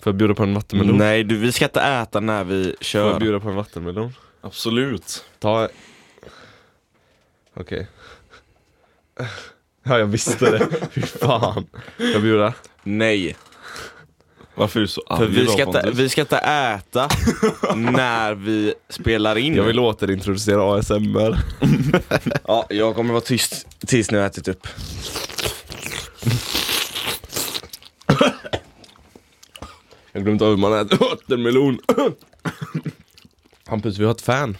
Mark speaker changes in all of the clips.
Speaker 1: Får jag bjuda på en vattenmelon?
Speaker 2: Nej, du, vi ska inte äta när vi
Speaker 1: Får jag
Speaker 2: kör.
Speaker 1: bjuda på en vattenmelon?
Speaker 3: Absolut.
Speaker 1: Ta... Okej. Ja, jag visste det. Fy fan. Får jag bjuda?
Speaker 2: Nej,
Speaker 3: Varför är du så arg
Speaker 2: för vi
Speaker 3: idag,
Speaker 2: ska, inte,
Speaker 3: Pontus?
Speaker 2: vi ska inte äta när vi spelar in.
Speaker 1: Jag vill återintroducera ASMR.
Speaker 2: ja, jag kommer vara tyst tills ni har ätit upp.
Speaker 1: Jag har glömt av hur man äter vattenmelon. Hampus, vi har ett fan.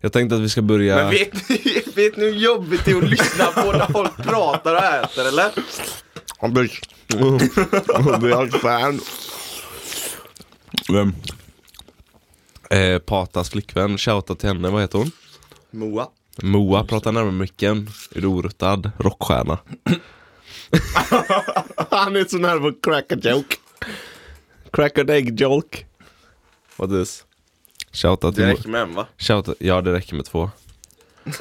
Speaker 1: Jag tänkte att vi ska börja...
Speaker 4: Men vet ni, vet ni hur jobbigt det är att lyssna på när folk pratar och äter eller?
Speaker 1: Hampus. vi har ett fan.
Speaker 3: Vem?
Speaker 1: Eh, Patas flickvän, shoutout till henne, vad heter hon?
Speaker 4: Moa.
Speaker 1: Moa, prata närmare micken. Är du orutad? Rockstjärna. Han är så nära på crack a joke. Crack an egg joke. What is? Shoutout till
Speaker 4: Det
Speaker 1: Moa.
Speaker 4: räcker med en va?
Speaker 1: Shoutout, ja det räcker med två.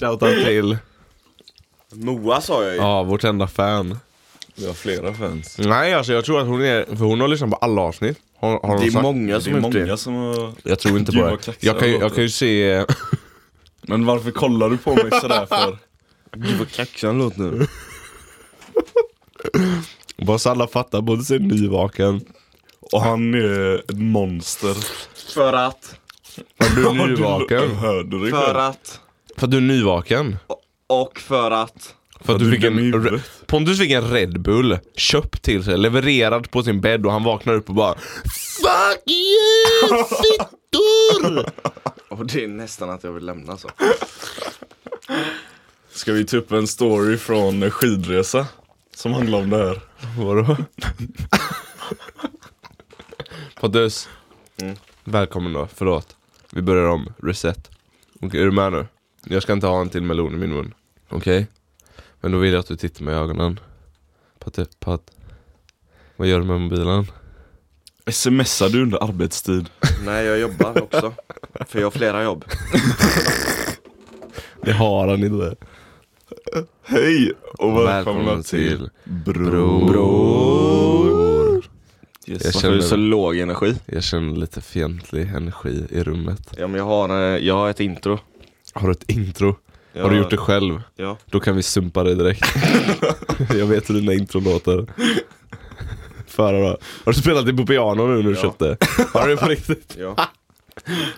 Speaker 1: Shoutout till,
Speaker 4: Moa sa jag ju.
Speaker 1: ja vårt enda fan.
Speaker 3: Vi har flera fans.
Speaker 1: Nej alltså jag tror att hon är, för hon har lyssnat på alla avsnitt. Har, har hon
Speaker 2: Det är
Speaker 1: sagt-
Speaker 2: många
Speaker 3: Det
Speaker 2: som
Speaker 3: är
Speaker 2: har gjort det.
Speaker 3: många som har...
Speaker 1: Jag tror inte på
Speaker 3: Gud, vad
Speaker 1: det.
Speaker 3: kaxig
Speaker 1: Jag kan, ju,
Speaker 3: jag
Speaker 1: jag kan ju se, eh,
Speaker 3: Men varför kollar du på mig sådär för?
Speaker 2: Gud vad kaxig han låter nu.
Speaker 1: bara så alla fattar, både sig nyvaken.
Speaker 3: Och han är ett monster.
Speaker 4: För att,
Speaker 1: Var du
Speaker 3: Har
Speaker 1: nyvaken?
Speaker 3: Du, hörde du
Speaker 4: för
Speaker 3: själv?
Speaker 4: att
Speaker 1: För att du är nyvaken?
Speaker 4: och för att.
Speaker 1: För att
Speaker 3: du
Speaker 1: du fick
Speaker 3: dum
Speaker 1: en,
Speaker 3: i huvudet.
Speaker 1: Re- Pontus fick en Red Bull köpt till sig, levererad på sin bädd och han vaknar upp och bara Fuck you fittor!
Speaker 4: Och det är nästan att jag vill lämna så.
Speaker 3: Ska vi ta upp en story från en skidresa? Som handlar om det här.
Speaker 1: Vadå? Pontus, Mm. välkommen då, förlåt. Vi börjar om, reset. Okej, är du med nu? Jag ska inte ha en till melon i min mun. Okej? Men då vill jag att du tittar mig i ögonen. Patte, pat. Vad gör du med mobilen?
Speaker 3: Smsar du under arbetstid?
Speaker 4: Nej jag jobbar också. För jag har flera jobb.
Speaker 1: Det har han inte.
Speaker 3: Hej och välkomna,
Speaker 1: Välkomna
Speaker 3: till
Speaker 1: till
Speaker 3: Bro.
Speaker 1: Jag känner-
Speaker 2: Varför Alltså, är du så låg energi?
Speaker 1: Jag känner lite fientlig energi i rummet.
Speaker 4: Ja men jag har, eh, jag har ett intro.
Speaker 1: Har du ett intro?
Speaker 4: Jag,
Speaker 1: Har du gjort det själv?
Speaker 4: Ja.
Speaker 1: Då kan vi sumpa dig direkt. jag vet hur dina intron låter. Föra då. Har du spelat det på piano nu när du
Speaker 4: Ja.
Speaker 1: köpte? Har du det på riktigt?
Speaker 4: Ja.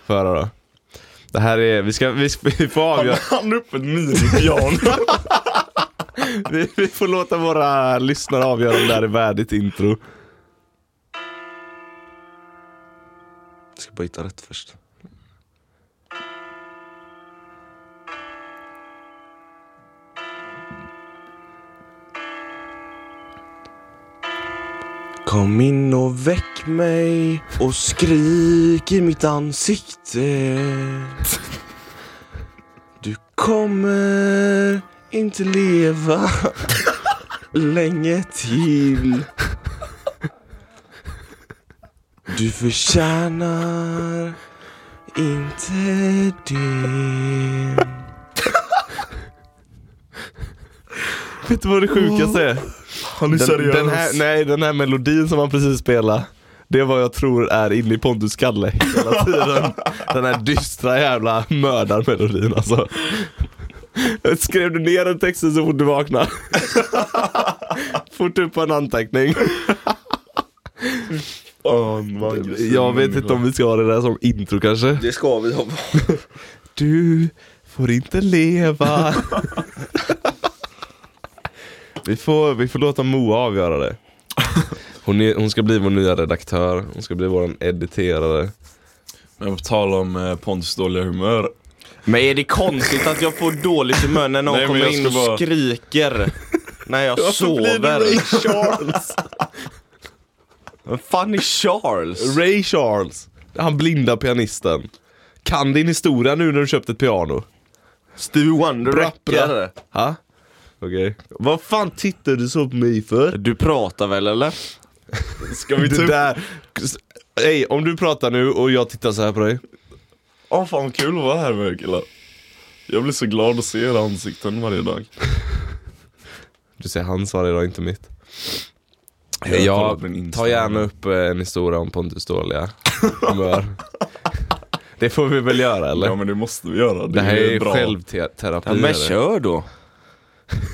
Speaker 1: Föra då. Det här är, vi ska, vi, vi får avgöra,
Speaker 3: Han är uppe ett minipiano.
Speaker 1: vi, vi får låta våra lyssnare avgöra om det här är värdigt intro.
Speaker 2: Jag ska bara hitta rätt först. Kom in och väck mig och skrik i mitt ansikte. Du kommer inte leva länge till. Du förtjänar inte det.
Speaker 1: Vet du vad det sjukaste är?
Speaker 3: Han är
Speaker 1: Den,
Speaker 3: seriös.
Speaker 1: den här, nej, den här melodin som han precis spelade, det är vad jag tror är inne i Pontus skalle hela tiden. den här dystra jävla mördarmelodin alltså. Skrev du ner den texten så fort du vaknade? fort upp på en anteckning.
Speaker 3: Fan, vad aggressiv
Speaker 1: Jag vet
Speaker 3: människa.
Speaker 1: inte om vi ska ha det där som intro kanske.
Speaker 4: Det ska vi ha.
Speaker 1: Du får inte leva. vi, får, vi får låta Moa avgöra det. Hon, är, hon ska bli vår nya redaktör, hon ska bli vår editerare.
Speaker 3: Men på tal om eh, Pontus dåliga humör.
Speaker 2: Men är det konstigt att jag får dåligt humör när någon
Speaker 3: Nej, men jag
Speaker 2: kommer in och
Speaker 3: ska bara-
Speaker 2: skriker? När jag sover.
Speaker 1: Charles?
Speaker 2: Vem fan är Charles?
Speaker 1: Ray Charles, han blinda pianisten. Kan din historia nu när du köpte ett piano?
Speaker 4: Stevie Wonder
Speaker 1: Bra, bra.
Speaker 4: räcker.
Speaker 1: Ha? Okej. Vad fan tittar du så på mig för?
Speaker 2: Du pratar väl eller?
Speaker 3: Ska vi ta
Speaker 2: typ-
Speaker 1: Det
Speaker 3: upp...
Speaker 1: där... Hej, om du pratar nu och jag tittar så här på dig.
Speaker 3: Åh fan vad kul att vara här med er killar. Jag blir så glad att se era ansikten varje dag.
Speaker 1: Du ser hans varje dag, inte mitt. Jag
Speaker 3: kollat på din
Speaker 1: tar
Speaker 3: Instagram.
Speaker 1: gärna upp eh, en historia om Pontus dåliga humör. Det får vi väl göra eller?
Speaker 3: Ja men det måste vi göra. Det,
Speaker 1: det här är
Speaker 3: ju
Speaker 1: ju
Speaker 3: bra.
Speaker 1: självterapi.
Speaker 2: Ja, men
Speaker 1: eller?
Speaker 2: kör då.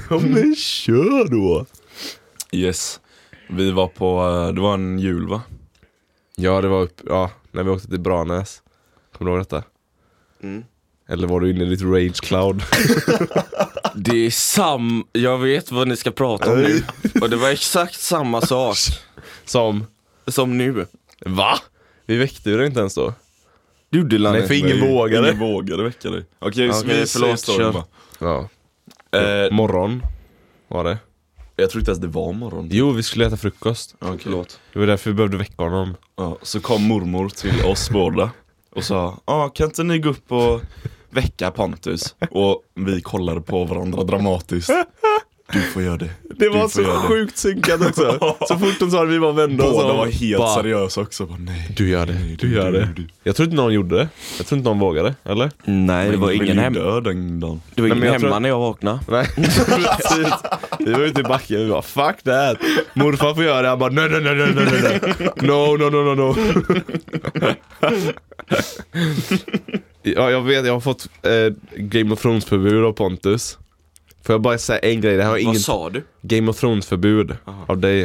Speaker 1: Ja, men kör då!
Speaker 3: Yes. Vi var på, eh, det var en jul va?
Speaker 1: Ja, det var upp, ja, när vi åkte till Branäs. Kommer du ihåg detta?
Speaker 4: Mm.
Speaker 1: Eller var du inne i ditt rage cloud?
Speaker 2: Det är sam... Jag vet vad ni ska prata om nu. Och det var exakt samma sak
Speaker 1: Som,
Speaker 2: som nu.
Speaker 1: va? Vi väckte ju det inte ens då.
Speaker 2: Du Dylan.
Speaker 1: Nej, för ingen vågade.
Speaker 3: Ingen vågade väcka dig. Okej, så
Speaker 2: Okej,
Speaker 3: vi säger
Speaker 2: förlåt,
Speaker 3: storyn
Speaker 2: kör.
Speaker 1: Ja,
Speaker 3: bara. Eh,
Speaker 1: morgon var det.
Speaker 3: jag tror inte ens det var morgon.
Speaker 1: Jo, vi skulle äta frukost.
Speaker 3: Okay. Förlåt.
Speaker 1: Det var därför vi behövde väcka honom.
Speaker 3: Ja, så kom mormor till oss båda och sa ah, kan inte ni gå upp och väcka Pontus? Och vi kollade på varandra dramatiskt. Du får göra det.
Speaker 1: Det
Speaker 3: Du får göra det.
Speaker 1: synkat också. Så fort de sa det, vi var vända och
Speaker 3: Båda
Speaker 1: så-
Speaker 3: var helt
Speaker 1: bara,
Speaker 3: seriösa också. Bara, nej.
Speaker 1: Du gör det, du gör det. Jag tror inte någon gjorde det. Jag tror inte någon vågade, eller?
Speaker 2: Nej, det var ingen, hem...
Speaker 3: dö den dagen.
Speaker 2: det var
Speaker 1: Nej, men
Speaker 2: ingen
Speaker 1: jag
Speaker 2: hemma
Speaker 1: tror-
Speaker 2: när jag vaknade.
Speaker 1: Nej, precis. Vi var ute i backen vi bara 'fuck that' Morfar får göra det, han bara 'nej nej nej nej nej nej No no no no no Ja jag vet, jag har fått eh, Game of Thrones förbud av Pontus Får jag bara säga en grej, det här har
Speaker 2: Vad
Speaker 1: ingen
Speaker 2: sa du?
Speaker 1: Game of Thrones förbud av dig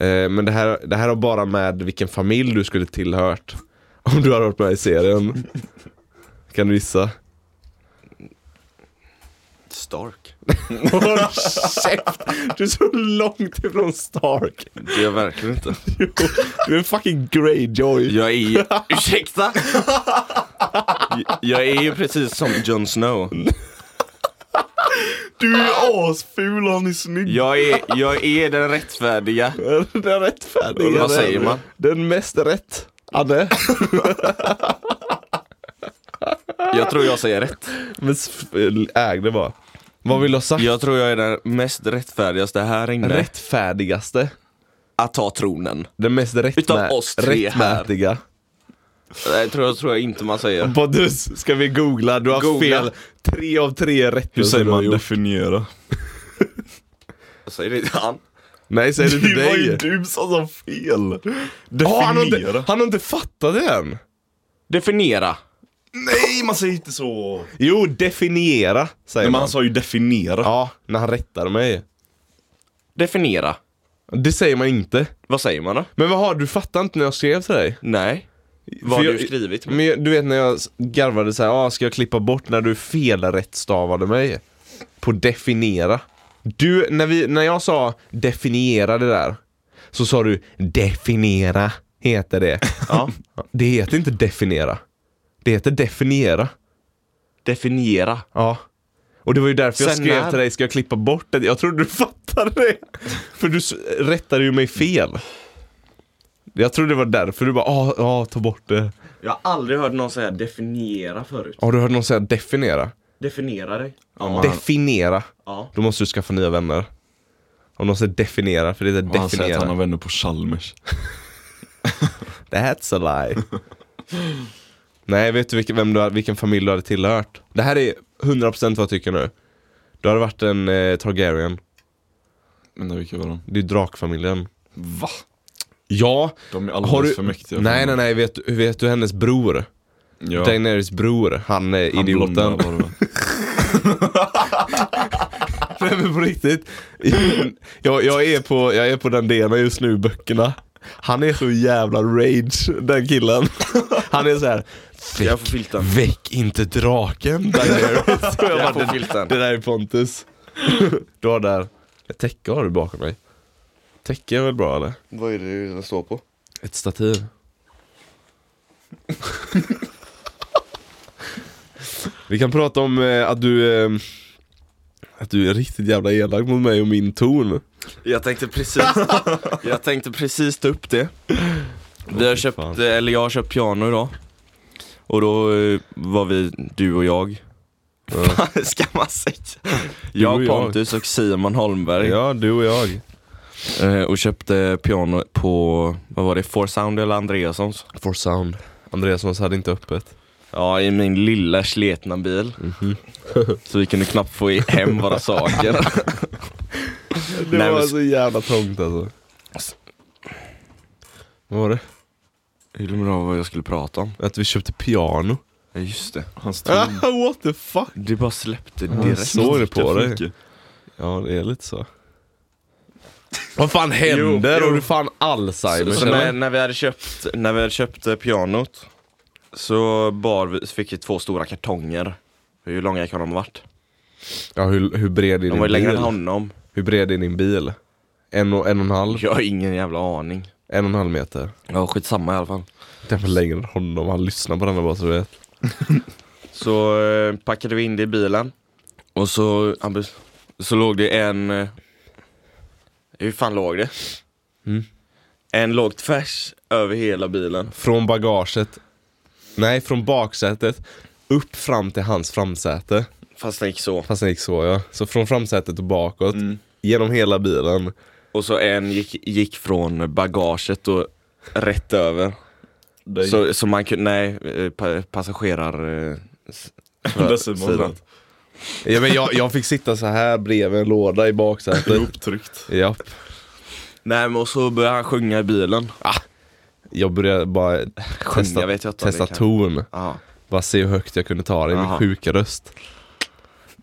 Speaker 1: eh, Men det här, det här har bara med vilken familj du skulle tillhört Om du har varit med i serien Kan du gissa?
Speaker 4: Stark.
Speaker 1: Håll käft! Du är så långt ifrån Stark.
Speaker 2: Det är jag verkligen inte.
Speaker 1: Du är en fucking Greyjoy.
Speaker 2: Jag är Ursäkta! jag är ju precis som Jon Snow.
Speaker 3: Du är asful och han är snygg.
Speaker 2: Jag är, jag är den rättfärdiga.
Speaker 1: Den rättfärdiga.
Speaker 2: Vad säger man?
Speaker 1: Den mest rätt. Anne.
Speaker 2: Jag tror jag säger rätt.
Speaker 1: Men äg det bara. Vad vill du ha sagt?
Speaker 2: Jag tror jag är den mest rättfärdigaste här inne.
Speaker 1: Rättfärdigaste.
Speaker 2: Att ta tronen.
Speaker 1: Den mest
Speaker 2: Utav
Speaker 1: rättmä-
Speaker 2: oss tre här.
Speaker 1: rättmätiga.
Speaker 2: Det tror jag, tror jag inte man säger.
Speaker 1: Pontus, ska vi googla? Du har
Speaker 2: Googla.
Speaker 1: fel. Tre av tre rättelser
Speaker 3: Hur säger
Speaker 1: du har
Speaker 3: man
Speaker 1: gjort.
Speaker 3: definiera?
Speaker 2: Jag säger det till han.
Speaker 1: Nej, säg det till
Speaker 3: Det var ju
Speaker 1: dig.
Speaker 3: du som sa fel.
Speaker 1: Åh, han, har inte,
Speaker 3: Definiera.
Speaker 1: han har inte fattat det än.
Speaker 2: Definiera.
Speaker 3: Nej, man säger inte så.
Speaker 1: Jo, definiera säger
Speaker 3: Nej, men
Speaker 1: man.
Speaker 3: han sa ju definiera.
Speaker 1: Ja, när han rättar mig.
Speaker 2: Definiera.
Speaker 1: Det säger man inte.
Speaker 2: Vad säger man då?
Speaker 1: Men vad har du fattar inte när jag skrev till dig?
Speaker 2: Nej. Vad har
Speaker 1: För
Speaker 2: du skrivit?
Speaker 1: Men jag, du vet när jag s- garvade så här, ah, ska jag klippa bort när du felrättstavade mig? På definiera. Du, när, vi, när jag sa definiera det där, så sa du definiera heter det.
Speaker 2: Ja.
Speaker 1: Det heter inte definiera. Det heter definiera.
Speaker 2: Definiera.
Speaker 1: Ja. Och det var ju därför jag
Speaker 2: Sen
Speaker 1: skrev
Speaker 2: när?
Speaker 1: till dig, ska jag klippa bort det? Jag trodde du fattade det. För du s- rättade ju mig fel. Jag tror det var därför du bara, ah, ah, ta bort det.
Speaker 2: Jag har aldrig hört någon säga definiera förut.
Speaker 1: Har du hört någon säga definiera?
Speaker 2: Definiera dig.
Speaker 3: Ja, man-
Speaker 1: Definiera.
Speaker 2: Ja.
Speaker 1: Då måste du skaffa nya vänner. Om någon säger definiera, för det är
Speaker 3: Han säger att han har
Speaker 1: definiera.
Speaker 3: vänner på Chalmers.
Speaker 1: That's a lie. Nej, vet du vilken, vem du, har- vilken familj du hade tillhört? Det här är 100% vad jag tycker nu. Du hade varit en eh, Targaryen.
Speaker 3: Men vilka var de?
Speaker 1: Det är drakfamiljen.
Speaker 3: Va?
Speaker 1: Ja,
Speaker 3: De är
Speaker 1: Har
Speaker 3: alldeles
Speaker 1: du...
Speaker 3: för mäktiga.
Speaker 1: Nej, nej, nej. Vet, du- vet du hennes bror?
Speaker 3: Ja.
Speaker 1: Daenerys bror. Han är
Speaker 3: han
Speaker 1: idioten.
Speaker 3: blonda var det, va?
Speaker 1: Nej men på riktigt. Jag, jag, är på, jag är på den delen just nu i böckerna. Han är så jävla rage, den killen. Han är så här.
Speaker 2: Jag får
Speaker 1: Väck,
Speaker 2: filten.
Speaker 1: väck inte draken Daenerys. Och jag
Speaker 2: Jag
Speaker 1: bara,
Speaker 2: får
Speaker 1: det,
Speaker 2: filten.
Speaker 1: det där är Pontus. Du har där, ett täcke har du bakom dig. Täcke är väl bra eller?
Speaker 4: Vad är det den står på?
Speaker 1: Ett stativ. Vi kan prata om eh, att du eh, att du är riktigt jävla elak mot mig och min ton.
Speaker 2: Jag tänkte precis, jag tänkte precis ta upp det. Vi har köpt,
Speaker 1: fan.
Speaker 2: eller jag har köpt piano idag. Och då eh, var vi, du och jag. Vad ska man säga?
Speaker 1: och
Speaker 2: Jag,
Speaker 1: jag.
Speaker 2: Pontus och Simon Holmberg.
Speaker 1: Ja, du och jag.
Speaker 2: Eh, Och köpte piano på, vad var det, Four Sound eller Andreassons?
Speaker 1: For sound. Andreassons hade inte öppet.
Speaker 2: Ja, i min lilla Mhm. sletna bil. Så vi kunde knappt få i- hem våra saker.
Speaker 1: Det
Speaker 2: Nej,
Speaker 1: var
Speaker 2: men-
Speaker 1: så jävla trångt alltså. Vad var det?
Speaker 2: Jag glömde av vad jag skulle prata om.
Speaker 1: Att vi köpte piano. Mm.
Speaker 2: Ja just det.
Speaker 3: Hans
Speaker 1: What the fuck?
Speaker 2: Det bara släppte
Speaker 1: Ja,
Speaker 2: direkt.
Speaker 1: såg det på dig.
Speaker 3: Mycket.
Speaker 1: Ja, det är lite så. Vad fan händer?
Speaker 2: jo.
Speaker 1: Har du fan Alzheimer?
Speaker 2: Så när,
Speaker 1: eller?
Speaker 2: när, vi hade köpt, när vi hade köpt eh, pianot så bar vi, så fick vi två stora kartonger. Hur långa kan de ha varit?
Speaker 1: Ja, hur, hur bred är
Speaker 2: De var
Speaker 1: din
Speaker 2: ju längre än
Speaker 1: bil?
Speaker 2: honom.
Speaker 1: Hur bred är din bil? En och en, och en halv?
Speaker 2: Jag har ingen jävla aning.
Speaker 1: En och en halv meter.
Speaker 2: Ja, skitsamma i alla fall.
Speaker 1: Den var längre än honom, han lyssnar på den bara så du vet.
Speaker 2: Så eh, packade vi in det i bilen. Och så, han bes- så låg det en... eh, Hur fan låg det?
Speaker 1: Mm.
Speaker 2: En låg tvärs över hela bilen.
Speaker 1: Från bagaget, nej från baksätet, upp fram till hans framsäte.
Speaker 2: Fast den gick så.
Speaker 1: Fast den gick så ja. Så från framsätet och bakåt,
Speaker 3: Mm.
Speaker 1: genom hela bilen.
Speaker 2: Och så en gick, gick från bagaget och rätt över.
Speaker 3: Det är
Speaker 2: Så, så man kunde, nej, eh, pa- passagerar... eh, s- sidan.
Speaker 3: decimal
Speaker 1: Ja, men jag, jag fick sitta så här bredvid en låda i baksätet.
Speaker 3: Ihoptryckt.
Speaker 1: Japp.
Speaker 2: Nej men och så började han sjunga i bilen.
Speaker 1: Jag började bara
Speaker 2: Sjunga
Speaker 1: testa,
Speaker 2: vet jag inte om
Speaker 1: testa
Speaker 2: det kan.
Speaker 1: ton.
Speaker 2: Ja,
Speaker 1: Bara se hur högt jag kunde ta det i min
Speaker 2: Aha.
Speaker 1: sjuka röst.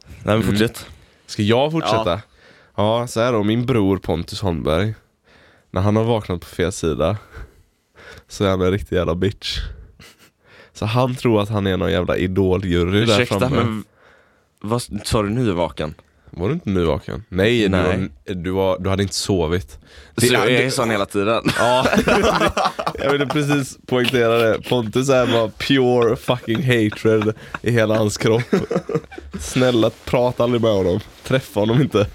Speaker 1: Nej, men fortsätt.
Speaker 2: Mm.
Speaker 1: Ska jag fortsätta? Ja. så här då. Min bror Pontus Holmberg. När han har vaknat på fel sida så är han en riktig jävla bitch. Så han tror att han är någon jävla idoljury där
Speaker 2: Ursäkta
Speaker 1: framme.
Speaker 2: men, vad s- sa du nyvaken?
Speaker 1: Var du inte nyvaken? Nej,
Speaker 2: Nej.
Speaker 1: Du, var, du, var, du hade inte sovit.
Speaker 2: Så jag
Speaker 1: det-
Speaker 2: är sån hela tiden.
Speaker 1: Ja, jag ville precis poängtera det. Pontus är bara pure fucking hatred i hela hans kropp. Snälla, prata aldrig med honom. Träffa honom inte.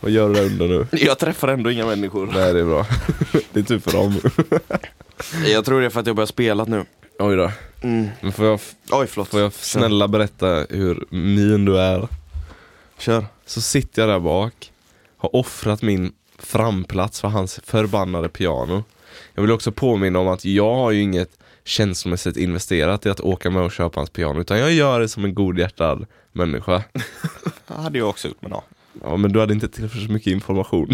Speaker 1: Vad gör du där under nu?
Speaker 2: Jag träffar ändå inga människor.
Speaker 1: Nej, det är bra. Det är tur för dem.
Speaker 2: Jag tror det är för att jag börjar spela nu.
Speaker 1: Oj då.
Speaker 2: Mm.
Speaker 1: Men får jag,
Speaker 2: Oj förlåt.
Speaker 1: får jag snälla berätta hur min du är?
Speaker 2: Kör.
Speaker 1: Så sitter jag där bak, har offrat min framplats för hans förbannade piano. Jag vill också påminna om att jag har ju inget känslomässigt investerat i att åka med och köpa hans piano, utan jag gör det som en godhjärtad människa.
Speaker 2: Det hade jag också gjort men ja.
Speaker 1: Ja, men du hade inte tillfört så mycket information.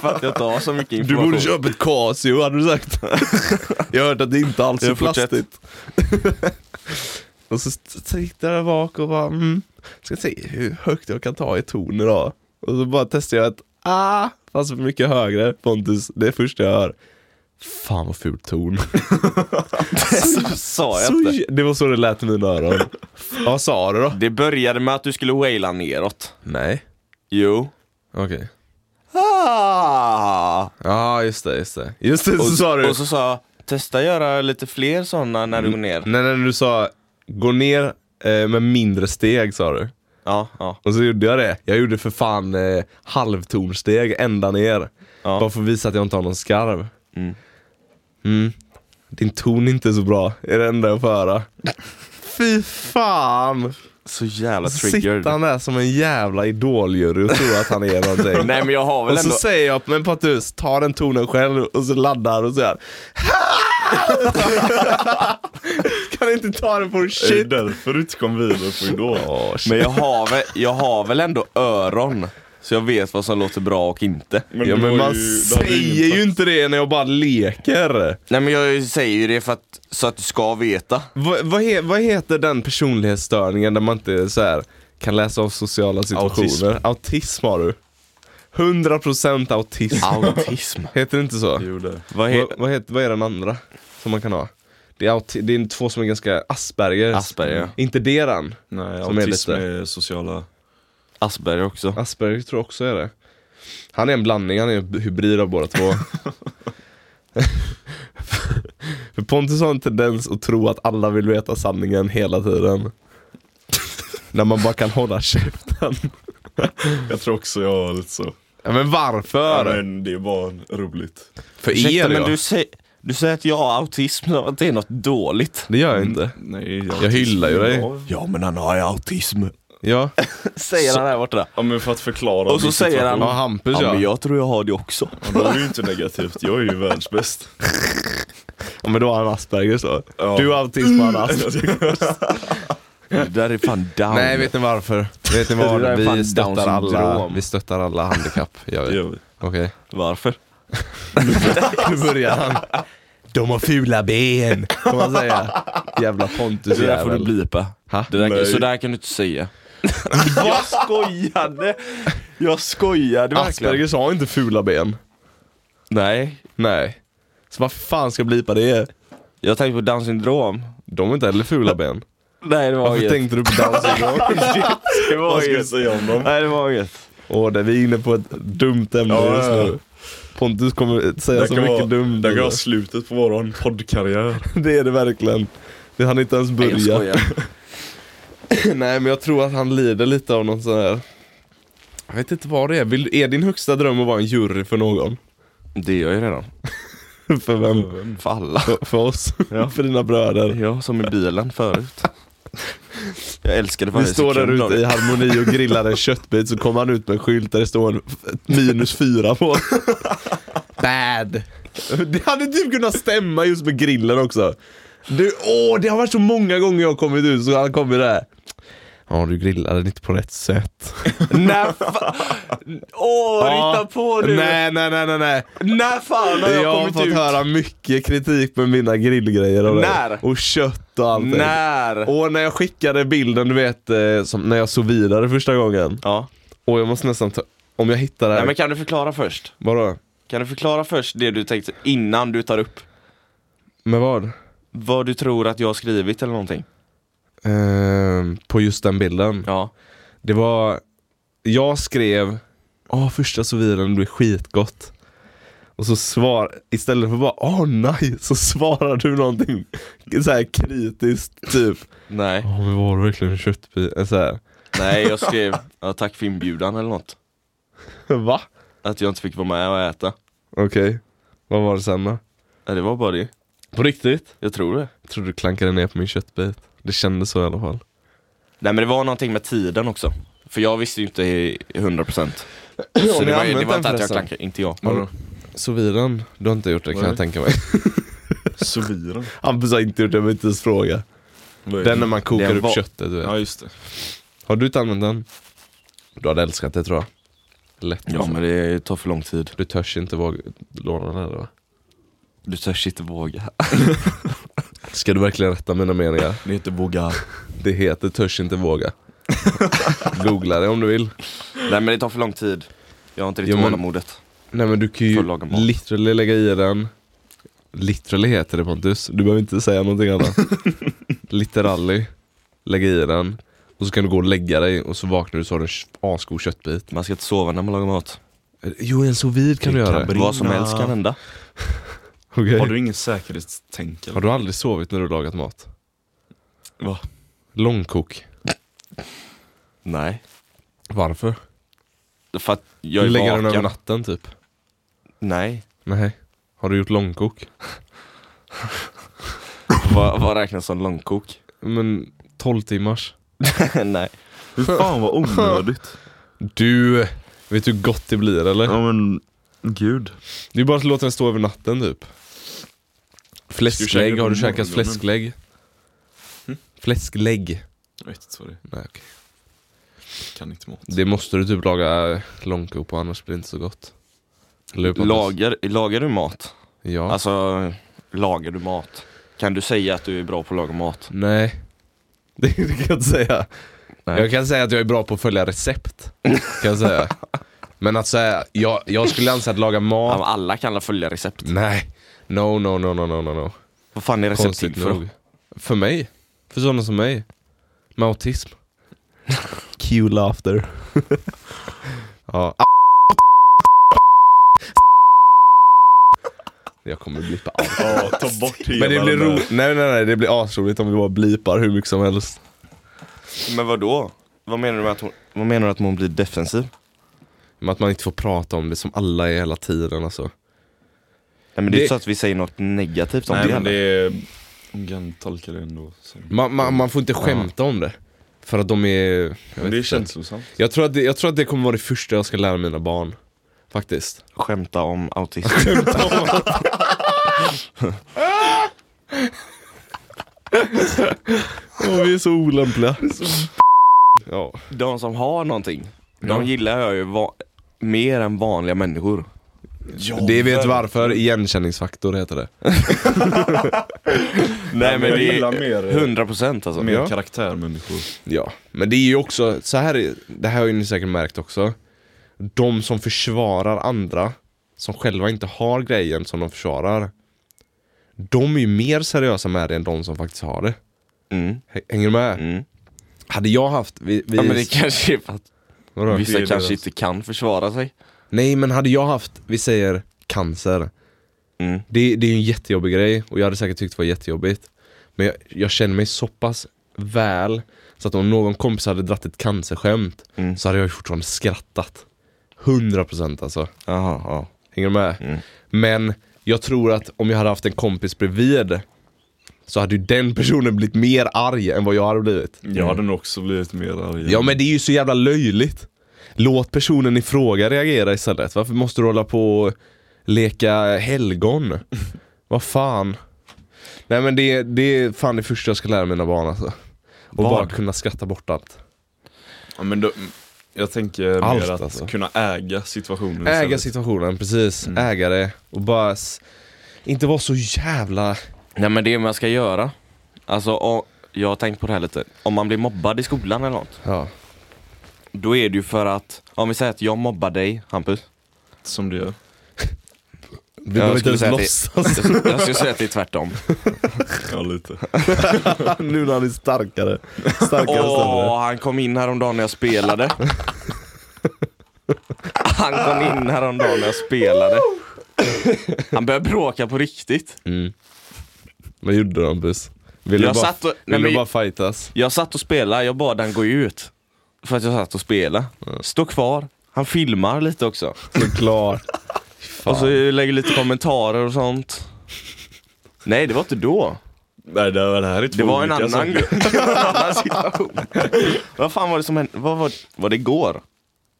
Speaker 2: För att jag tar så mycket
Speaker 1: Du
Speaker 2: information.
Speaker 1: borde köpa ett Casio hade du sagt. jag har hört att det inte alls är
Speaker 2: Jag fortsätter.
Speaker 1: plastigt. och så sitter jag där bak och bara, mm, ska se hur högt jag kan ta i ton idag. Och så bara testar jag ett ah, fast mycket högre. Pontus, det är första jag hör. Fan vad ful ton.
Speaker 2: så, sa jag
Speaker 1: Så
Speaker 2: inte.
Speaker 1: jä- det var så det lät i mina öron. Vad sa du då?
Speaker 2: Det började med att du skulle waila neråt.
Speaker 1: Nej.
Speaker 2: Jo.
Speaker 1: Okej.
Speaker 2: Ah.
Speaker 1: Ja, just det, just det. Just det, så
Speaker 2: Och-
Speaker 1: sa du.
Speaker 2: Och så sa jag, testa göra lite fler sådana när du går ner.
Speaker 1: Nej, när du sa gå ner eh, med mindre steg sa du.
Speaker 2: Ja, ja.
Speaker 1: Och så gjorde jag det. Jag gjorde för fan eh, halvtonsteg ända ner.
Speaker 2: Ja.
Speaker 1: Bara för att visa att jag inte har någon skarv. Mm. Din ton är inte så bra, är det enda jag får höra. Fy fan!
Speaker 2: Så jävla
Speaker 1: Sitter han där som en jävla idoljury och tror att han är någonting.
Speaker 2: Nej men jag har väl
Speaker 1: Och så
Speaker 2: ändå...
Speaker 1: säger jag, men Pontus, ta den tonen själv och så laddar och så här. kan inte ta den på
Speaker 3: Är det
Speaker 1: shit.
Speaker 3: därför du inte kom vidare på Idol?
Speaker 2: Men jag har, väl, jag har väl ändå öron. Så jag vet vad som låter bra och inte.
Speaker 3: Men
Speaker 1: Ja
Speaker 3: det
Speaker 1: men man
Speaker 3: var det hade
Speaker 1: säger ju inte det när jag bara leker.
Speaker 2: Nej men jag säger ju det för att, så att du ska veta.
Speaker 1: Vad, vad, he, vad heter den personlighetsstörningen där man inte så här, kan läsa av sociala situationer? Autism, har du. 100% autism.
Speaker 2: Autism.
Speaker 1: heter det inte så?
Speaker 3: Jo, det.
Speaker 2: Vad
Speaker 1: Vad,
Speaker 2: heter
Speaker 1: vad, heter, vad är den andra som man kan ha? Det är, auti- det är två som är ganska Asperger.
Speaker 2: Asperger, ja.
Speaker 1: Inte det den?
Speaker 3: Nej,
Speaker 1: Som är
Speaker 3: autism är,
Speaker 1: lite-
Speaker 3: sociala...
Speaker 2: Asperger också.
Speaker 1: Asperger tror jag också är det. Han är en blandning, han är en hybrid av båda två. För Pontus har en tendens att tro att alla vill veta sanningen hela tiden. När man bara kan hålla käften.
Speaker 3: Jag tror också jag har lite så.
Speaker 1: Ja, men varför?
Speaker 3: men det är bara roligt.
Speaker 1: För
Speaker 2: Ursäkta,
Speaker 1: er
Speaker 2: men
Speaker 1: ja.
Speaker 2: du, säger, du säger att jag har autism, som att det är något dåligt.
Speaker 1: Det gör jag inte.
Speaker 3: Mm. Nej,
Speaker 1: Jag hyllar ju dig.
Speaker 2: Ja men han har ju autism.
Speaker 1: Ja,
Speaker 2: Säger han här borta.
Speaker 3: Ja men för att förklara
Speaker 2: Och så
Speaker 3: din
Speaker 2: säger han,
Speaker 1: Ja, Hampus, ja.
Speaker 2: men jag tror jag har det också.
Speaker 3: situation. Ja, Då är det ju inte negativt, jag är ju världsbäst.
Speaker 1: Ja, men då har han Asperger så.
Speaker 3: Ja.
Speaker 2: Mm.
Speaker 1: Du har autism och han har Asperger.
Speaker 2: Det där är fan down.
Speaker 1: Nej, vet ni varför? Vet ni
Speaker 2: Det där är
Speaker 1: vad?
Speaker 2: fan
Speaker 1: Vi
Speaker 2: Downs
Speaker 1: stöttar alla,
Speaker 2: syndrom.
Speaker 1: vi stöttar alla handikapp. gör vi.
Speaker 3: gör vi.
Speaker 1: Okej.
Speaker 2: Varför?
Speaker 1: Nu börjar han. De har fula ben, kan man säga. Jävla Pontus
Speaker 2: Det där får du blipa.
Speaker 1: Ha?
Speaker 2: Det där,
Speaker 3: Nej.
Speaker 2: så där kan du inte säga. jag skojade! Jag skojade
Speaker 1: Aspergers har inte fula ben.
Speaker 2: Nej,
Speaker 1: Nej. Så vad fan ska blipa det?
Speaker 2: jag tänkte på down syndrom.
Speaker 1: De har inte heller fula ben.
Speaker 2: Nej det var
Speaker 1: Varför
Speaker 2: inget.
Speaker 1: tänkte du på Downs syndrom?
Speaker 2: det var
Speaker 3: Vad ska du
Speaker 2: inget.
Speaker 3: säga om dem?
Speaker 2: Nej det var inget.
Speaker 1: Åh, det vi är inne på ett dumt ämne
Speaker 3: Ja,
Speaker 1: just
Speaker 3: ja, ja.
Speaker 1: nu. Pontus kommer säga
Speaker 3: Det
Speaker 1: så
Speaker 3: kan,
Speaker 1: Alltså, mycket
Speaker 3: vara,
Speaker 1: dumt.
Speaker 3: det kan vara slutet på våran poddkarriär.
Speaker 1: Det är det verkligen. Det hann inte ens
Speaker 2: Nej, jag
Speaker 1: börja.
Speaker 2: skojar.
Speaker 1: Nej men jag tror att han lider lite av någon sån här Jag vet inte vad det är. Vill, är din högsta dröm att vara en jury för någon?
Speaker 2: Det gör jag ju redan.
Speaker 1: för vem?
Speaker 2: För alla.
Speaker 1: För, för oss? för dina bröder?
Speaker 2: Ja, som i bilen förut. Jag älskade
Speaker 1: Vi
Speaker 2: varje
Speaker 1: står där
Speaker 2: sekund av
Speaker 1: ute i
Speaker 2: det.
Speaker 1: harmoni och grillar en köttbit så kommer han ut med en skylt där det står en f- minus fyra på. Bad. Det hade typ kunnat stämma just med grillen också. Du, åh, det har varit så många gånger jag har kommit ut så han kommer där. Ja, du grillade inte på rätt sätt.
Speaker 2: När fa- Åh,
Speaker 1: Ja.
Speaker 2: rita på du!
Speaker 1: Nej, nej, nej, nej, nej.
Speaker 2: När fan har jag,
Speaker 1: Jag har
Speaker 2: kommit
Speaker 1: fått
Speaker 2: ut?
Speaker 1: höra mycket kritik med mina grillgrejer och det.
Speaker 2: När?
Speaker 1: Och kött och allt. det.
Speaker 2: När?
Speaker 1: Och när jag skickade bilden, du vet, eh, som när jag sous vidare första gången.
Speaker 2: Ja.
Speaker 1: Och jag måste nästan ta, om jag hittar det här.
Speaker 2: Nej men kan du förklara först?
Speaker 1: Vadå?
Speaker 2: Kan du förklara först det du tänkte innan du tar upp?
Speaker 1: Med vad?
Speaker 2: Vad du tror att jag har skrivit eller någonting?
Speaker 1: Ehm, på just den bilden.
Speaker 2: Ja.
Speaker 1: Det var, jag skrev, åh första sous viden blir skitgott. Och så svar, istället för bara åh nej, så svarar du någonting så här kritiskt typ.
Speaker 2: Nej.
Speaker 1: Åh men var det verkligen en köttbit? Eh, Så här.
Speaker 2: Nej, jag skrev ja, tack för inbjudan eller något.
Speaker 1: Va?
Speaker 2: Att jag inte fick vara med och äta.
Speaker 1: Okej. Vad var det sen då?
Speaker 2: Ja, det var bara det.
Speaker 1: På riktigt?
Speaker 2: Jag tror det.
Speaker 1: Jag tror du klankade ner på min köttbit. Det kändes så i alla fall.
Speaker 2: Nej men det var någonting med tiden också. För jag visste ju inte i- i 100%. Så det var, ju- det var inte att jag klankade, inte jag. Mm.
Speaker 1: Vadå? Soviden, du har inte gjort det kan
Speaker 3: Nej.
Speaker 1: jag tänka mig.
Speaker 3: Sovira.
Speaker 1: Hampus har inte gjort det, jag behöver inte ens fråga. Den när man kokar
Speaker 2: Den
Speaker 1: upp
Speaker 2: var-
Speaker 1: köttet du vet.
Speaker 3: Ja just det.
Speaker 1: Har du inte använt den? Du hade älskat det tror jag. Lätt. liksom.
Speaker 2: Ja men det tar för lång tid.
Speaker 1: Du törs inte våga låna den här va?
Speaker 2: Du törs inte våga.
Speaker 1: Ska du verkligen rätta mina meningar?
Speaker 3: Det heter Bogar.
Speaker 1: Det heter törs inte våga. Googla det om du vill.
Speaker 2: Nej men det tar för lång tid. Jag har inte
Speaker 1: Jo,
Speaker 2: riktigt
Speaker 1: men-
Speaker 2: tålamodet.
Speaker 1: Nej men du kan ju
Speaker 2: Får laga mat.
Speaker 1: literally lägga i den. Literally heter det Pontus, du behöver inte säga någonting annat. Literally, lägga i den. Och så kan du gå och lägga dig och så vaknar du så har du en asgod köttbit.
Speaker 2: Man ska inte sova när man lagar mat.
Speaker 1: Jo, en sous vide kan du göra.
Speaker 3: Brinna.
Speaker 2: Vad som helst kan hända.
Speaker 1: Okej.
Speaker 3: Har du ingen säkerhetstänk
Speaker 1: Har
Speaker 3: eller?
Speaker 1: du aldrig sovit när du lagat mat?
Speaker 3: Va?
Speaker 1: Långkok.
Speaker 2: Nej.
Speaker 1: Varför?
Speaker 2: För att jag
Speaker 1: Du
Speaker 2: är
Speaker 1: lägger den
Speaker 2: vaken.
Speaker 1: över natten typ?
Speaker 2: Nej.
Speaker 1: Nej. Har du gjort långkok?
Speaker 2: Vad, vad räknas som långkok?
Speaker 1: Men 12 timmars.
Speaker 2: Nej.
Speaker 3: Hur fan vad onödigt.
Speaker 1: Du! Vet du hur gott det blir eller?
Speaker 3: Ja men, gud.
Speaker 1: Det är bara att låta den stå över natten typ.
Speaker 3: Ska du käka
Speaker 1: Fläsklägg,
Speaker 3: det på
Speaker 1: har du käkat
Speaker 3: morgonen? Hm?
Speaker 1: fläsklägg? Fläsklägg?
Speaker 3: Jag vet inte vad det är.
Speaker 1: Nej, okej.
Speaker 3: Kan inte mat.
Speaker 1: Det måste du typ laga eh, långkok på annars blir det inte så gott. Eller hur, Pontus?
Speaker 2: Lagar, lagar du mat?
Speaker 1: Ja.
Speaker 2: Alltså, lagar du mat? Kan du säga att du är bra på att laga mat?
Speaker 1: Nej. Det kan jag inte säga.
Speaker 2: Nej.
Speaker 1: Jag kan säga att jag är bra på att följa recept. Kan jag säga. Men att säga, jag, jag skulle anse att laga
Speaker 2: Ja,
Speaker 1: mat.
Speaker 2: men Alltså, alla kan alla följa recept?
Speaker 1: Nej. No, no, no, no, no, no, no.
Speaker 2: Vad fan är recept
Speaker 1: Konstigt
Speaker 2: till för? då?
Speaker 1: nog. För mig. För sådana som mig. Med autism. Cue laughter. ja. Jag kommer blippa allt.
Speaker 3: Ja, ta bort hela
Speaker 1: Men det blir
Speaker 3: den där.
Speaker 1: roligt. Nej, nej, nej. Det blir asroligt om vi bara blipar hur mycket som helst.
Speaker 2: Men vad då? Vad menar du med att hon, vad menar du att hon blir defensiv?
Speaker 1: Men att man inte får prata om det som alla är hela tiden alltså.
Speaker 2: Nej, men det är
Speaker 1: Det-
Speaker 2: inte så att vi säger något negativt om
Speaker 3: Nej
Speaker 2: det.
Speaker 3: men det
Speaker 2: heller.
Speaker 3: är, hon kan tolka det ändå. Så.
Speaker 1: Man, man, man får inte skämta om det. För att de är... Jag,
Speaker 3: Men
Speaker 1: vet
Speaker 3: det är
Speaker 1: inte.
Speaker 3: känslosamt.
Speaker 1: jag, tror att det, jag tror att det kommer vara det första jag ska lära mina barn. Faktiskt.
Speaker 2: Skämta om autism.
Speaker 1: Åh, vi är så olämpliga. Ja.
Speaker 2: De som har någonting, de gillar jag ju va- mer än vanliga människor.
Speaker 1: Det vet varför, igenkänningsfaktor heter det.
Speaker 2: Nej men
Speaker 3: jag
Speaker 2: det
Speaker 3: gillar
Speaker 2: är
Speaker 3: mer-
Speaker 2: 100% alltså.
Speaker 3: Mer
Speaker 1: Ja.
Speaker 3: karaktärmänniskor.
Speaker 1: Ja, men det är ju också, så här, är- det här har ju ni säkert märkt också. De som försvarar andra, som själva inte har grejen som de försvarar. De är ju mer seriösa med det än de som faktiskt har det.
Speaker 2: Mm.
Speaker 1: H- Hänger du med?
Speaker 2: Mm.
Speaker 1: Hade jag haft... Vi, vi,
Speaker 2: Ja men det kanske är för att
Speaker 1: vadå?
Speaker 2: vissa
Speaker 3: Det är
Speaker 2: kanske
Speaker 3: deras.
Speaker 2: inte kan försvara sig.
Speaker 1: Nej men hade jag haft, vi säger cancer.
Speaker 2: Mm.
Speaker 1: Det, det är ju en jättejobbig grej och jag hade säkert tyckt det var jättejobbigt. Men jag, jag känner mig så pass väl så att om någon kompis hade dratt ett cancerskämt
Speaker 2: Mm.
Speaker 1: så hade jag ju fortfarande skrattat. 100% alltså.
Speaker 2: Jaha, ja.
Speaker 1: Hänger du med?
Speaker 2: Mm.
Speaker 1: Men jag tror att om jag hade haft en kompis bredvid så hade ju den personen blivit mer arg än vad jag hade blivit.
Speaker 3: Jag hade nog också blivit mer arg.
Speaker 1: Mm. Ja men det är ju så jävla löjligt. Låt personen i fråga reagera istället. Varför måste du hålla på och leka helgon? Vad fan. Nej men det, det är fan det första jag ska lära mina barn alltså. Och
Speaker 2: Vad?
Speaker 1: bara kunna skratta bort allt.
Speaker 3: Ja, men då, jag tänker
Speaker 1: Allt,
Speaker 3: mer att
Speaker 1: alltså.
Speaker 3: kunna äga situationen.
Speaker 1: Äga
Speaker 3: istället.
Speaker 1: situationen, precis.
Speaker 2: Mm.
Speaker 1: Äga det. Och bara s- inte vara så jävla...
Speaker 2: Nej men det man ska göra, alltså och, jag har tänkt på det här lite, om man blir mobbad i skolan eller något,
Speaker 1: Ja.
Speaker 2: då är det ju för att, om vi säger att jag mobbar dig Hampus,
Speaker 3: Som du gör.
Speaker 1: Vi behöver inte
Speaker 2: skulle
Speaker 1: ens
Speaker 2: säga att
Speaker 1: låtsas.
Speaker 2: jag, jag skulle säga att det är tvärtom.
Speaker 3: Ja, lite.
Speaker 1: nu när han är starkare. Starkare
Speaker 2: Åh, han kom in häromdagen när jag spelade. Han kom in häromdagen när jag spelade. Han började bråka på riktigt.
Speaker 1: Mm. Vad gjorde du Hampus? Vill du
Speaker 2: Jag
Speaker 1: bara,
Speaker 2: satt och-
Speaker 1: vill
Speaker 2: nej,
Speaker 1: du
Speaker 2: men-
Speaker 1: bara fightas?
Speaker 2: Jag satt och spelade, jag bad han gå ut. För att jag satt och spelade. Stå kvar. Han filmar lite också.
Speaker 1: Såklart.
Speaker 2: Och så lägger lite kommentarer och sånt. Nej, det var inte då.
Speaker 3: Nej, det, var, det här är två
Speaker 2: Det var en
Speaker 3: olika
Speaker 2: annan,
Speaker 3: saker.
Speaker 2: det var en annan situation. Vad fan var det som hände? Vad var, var det igår?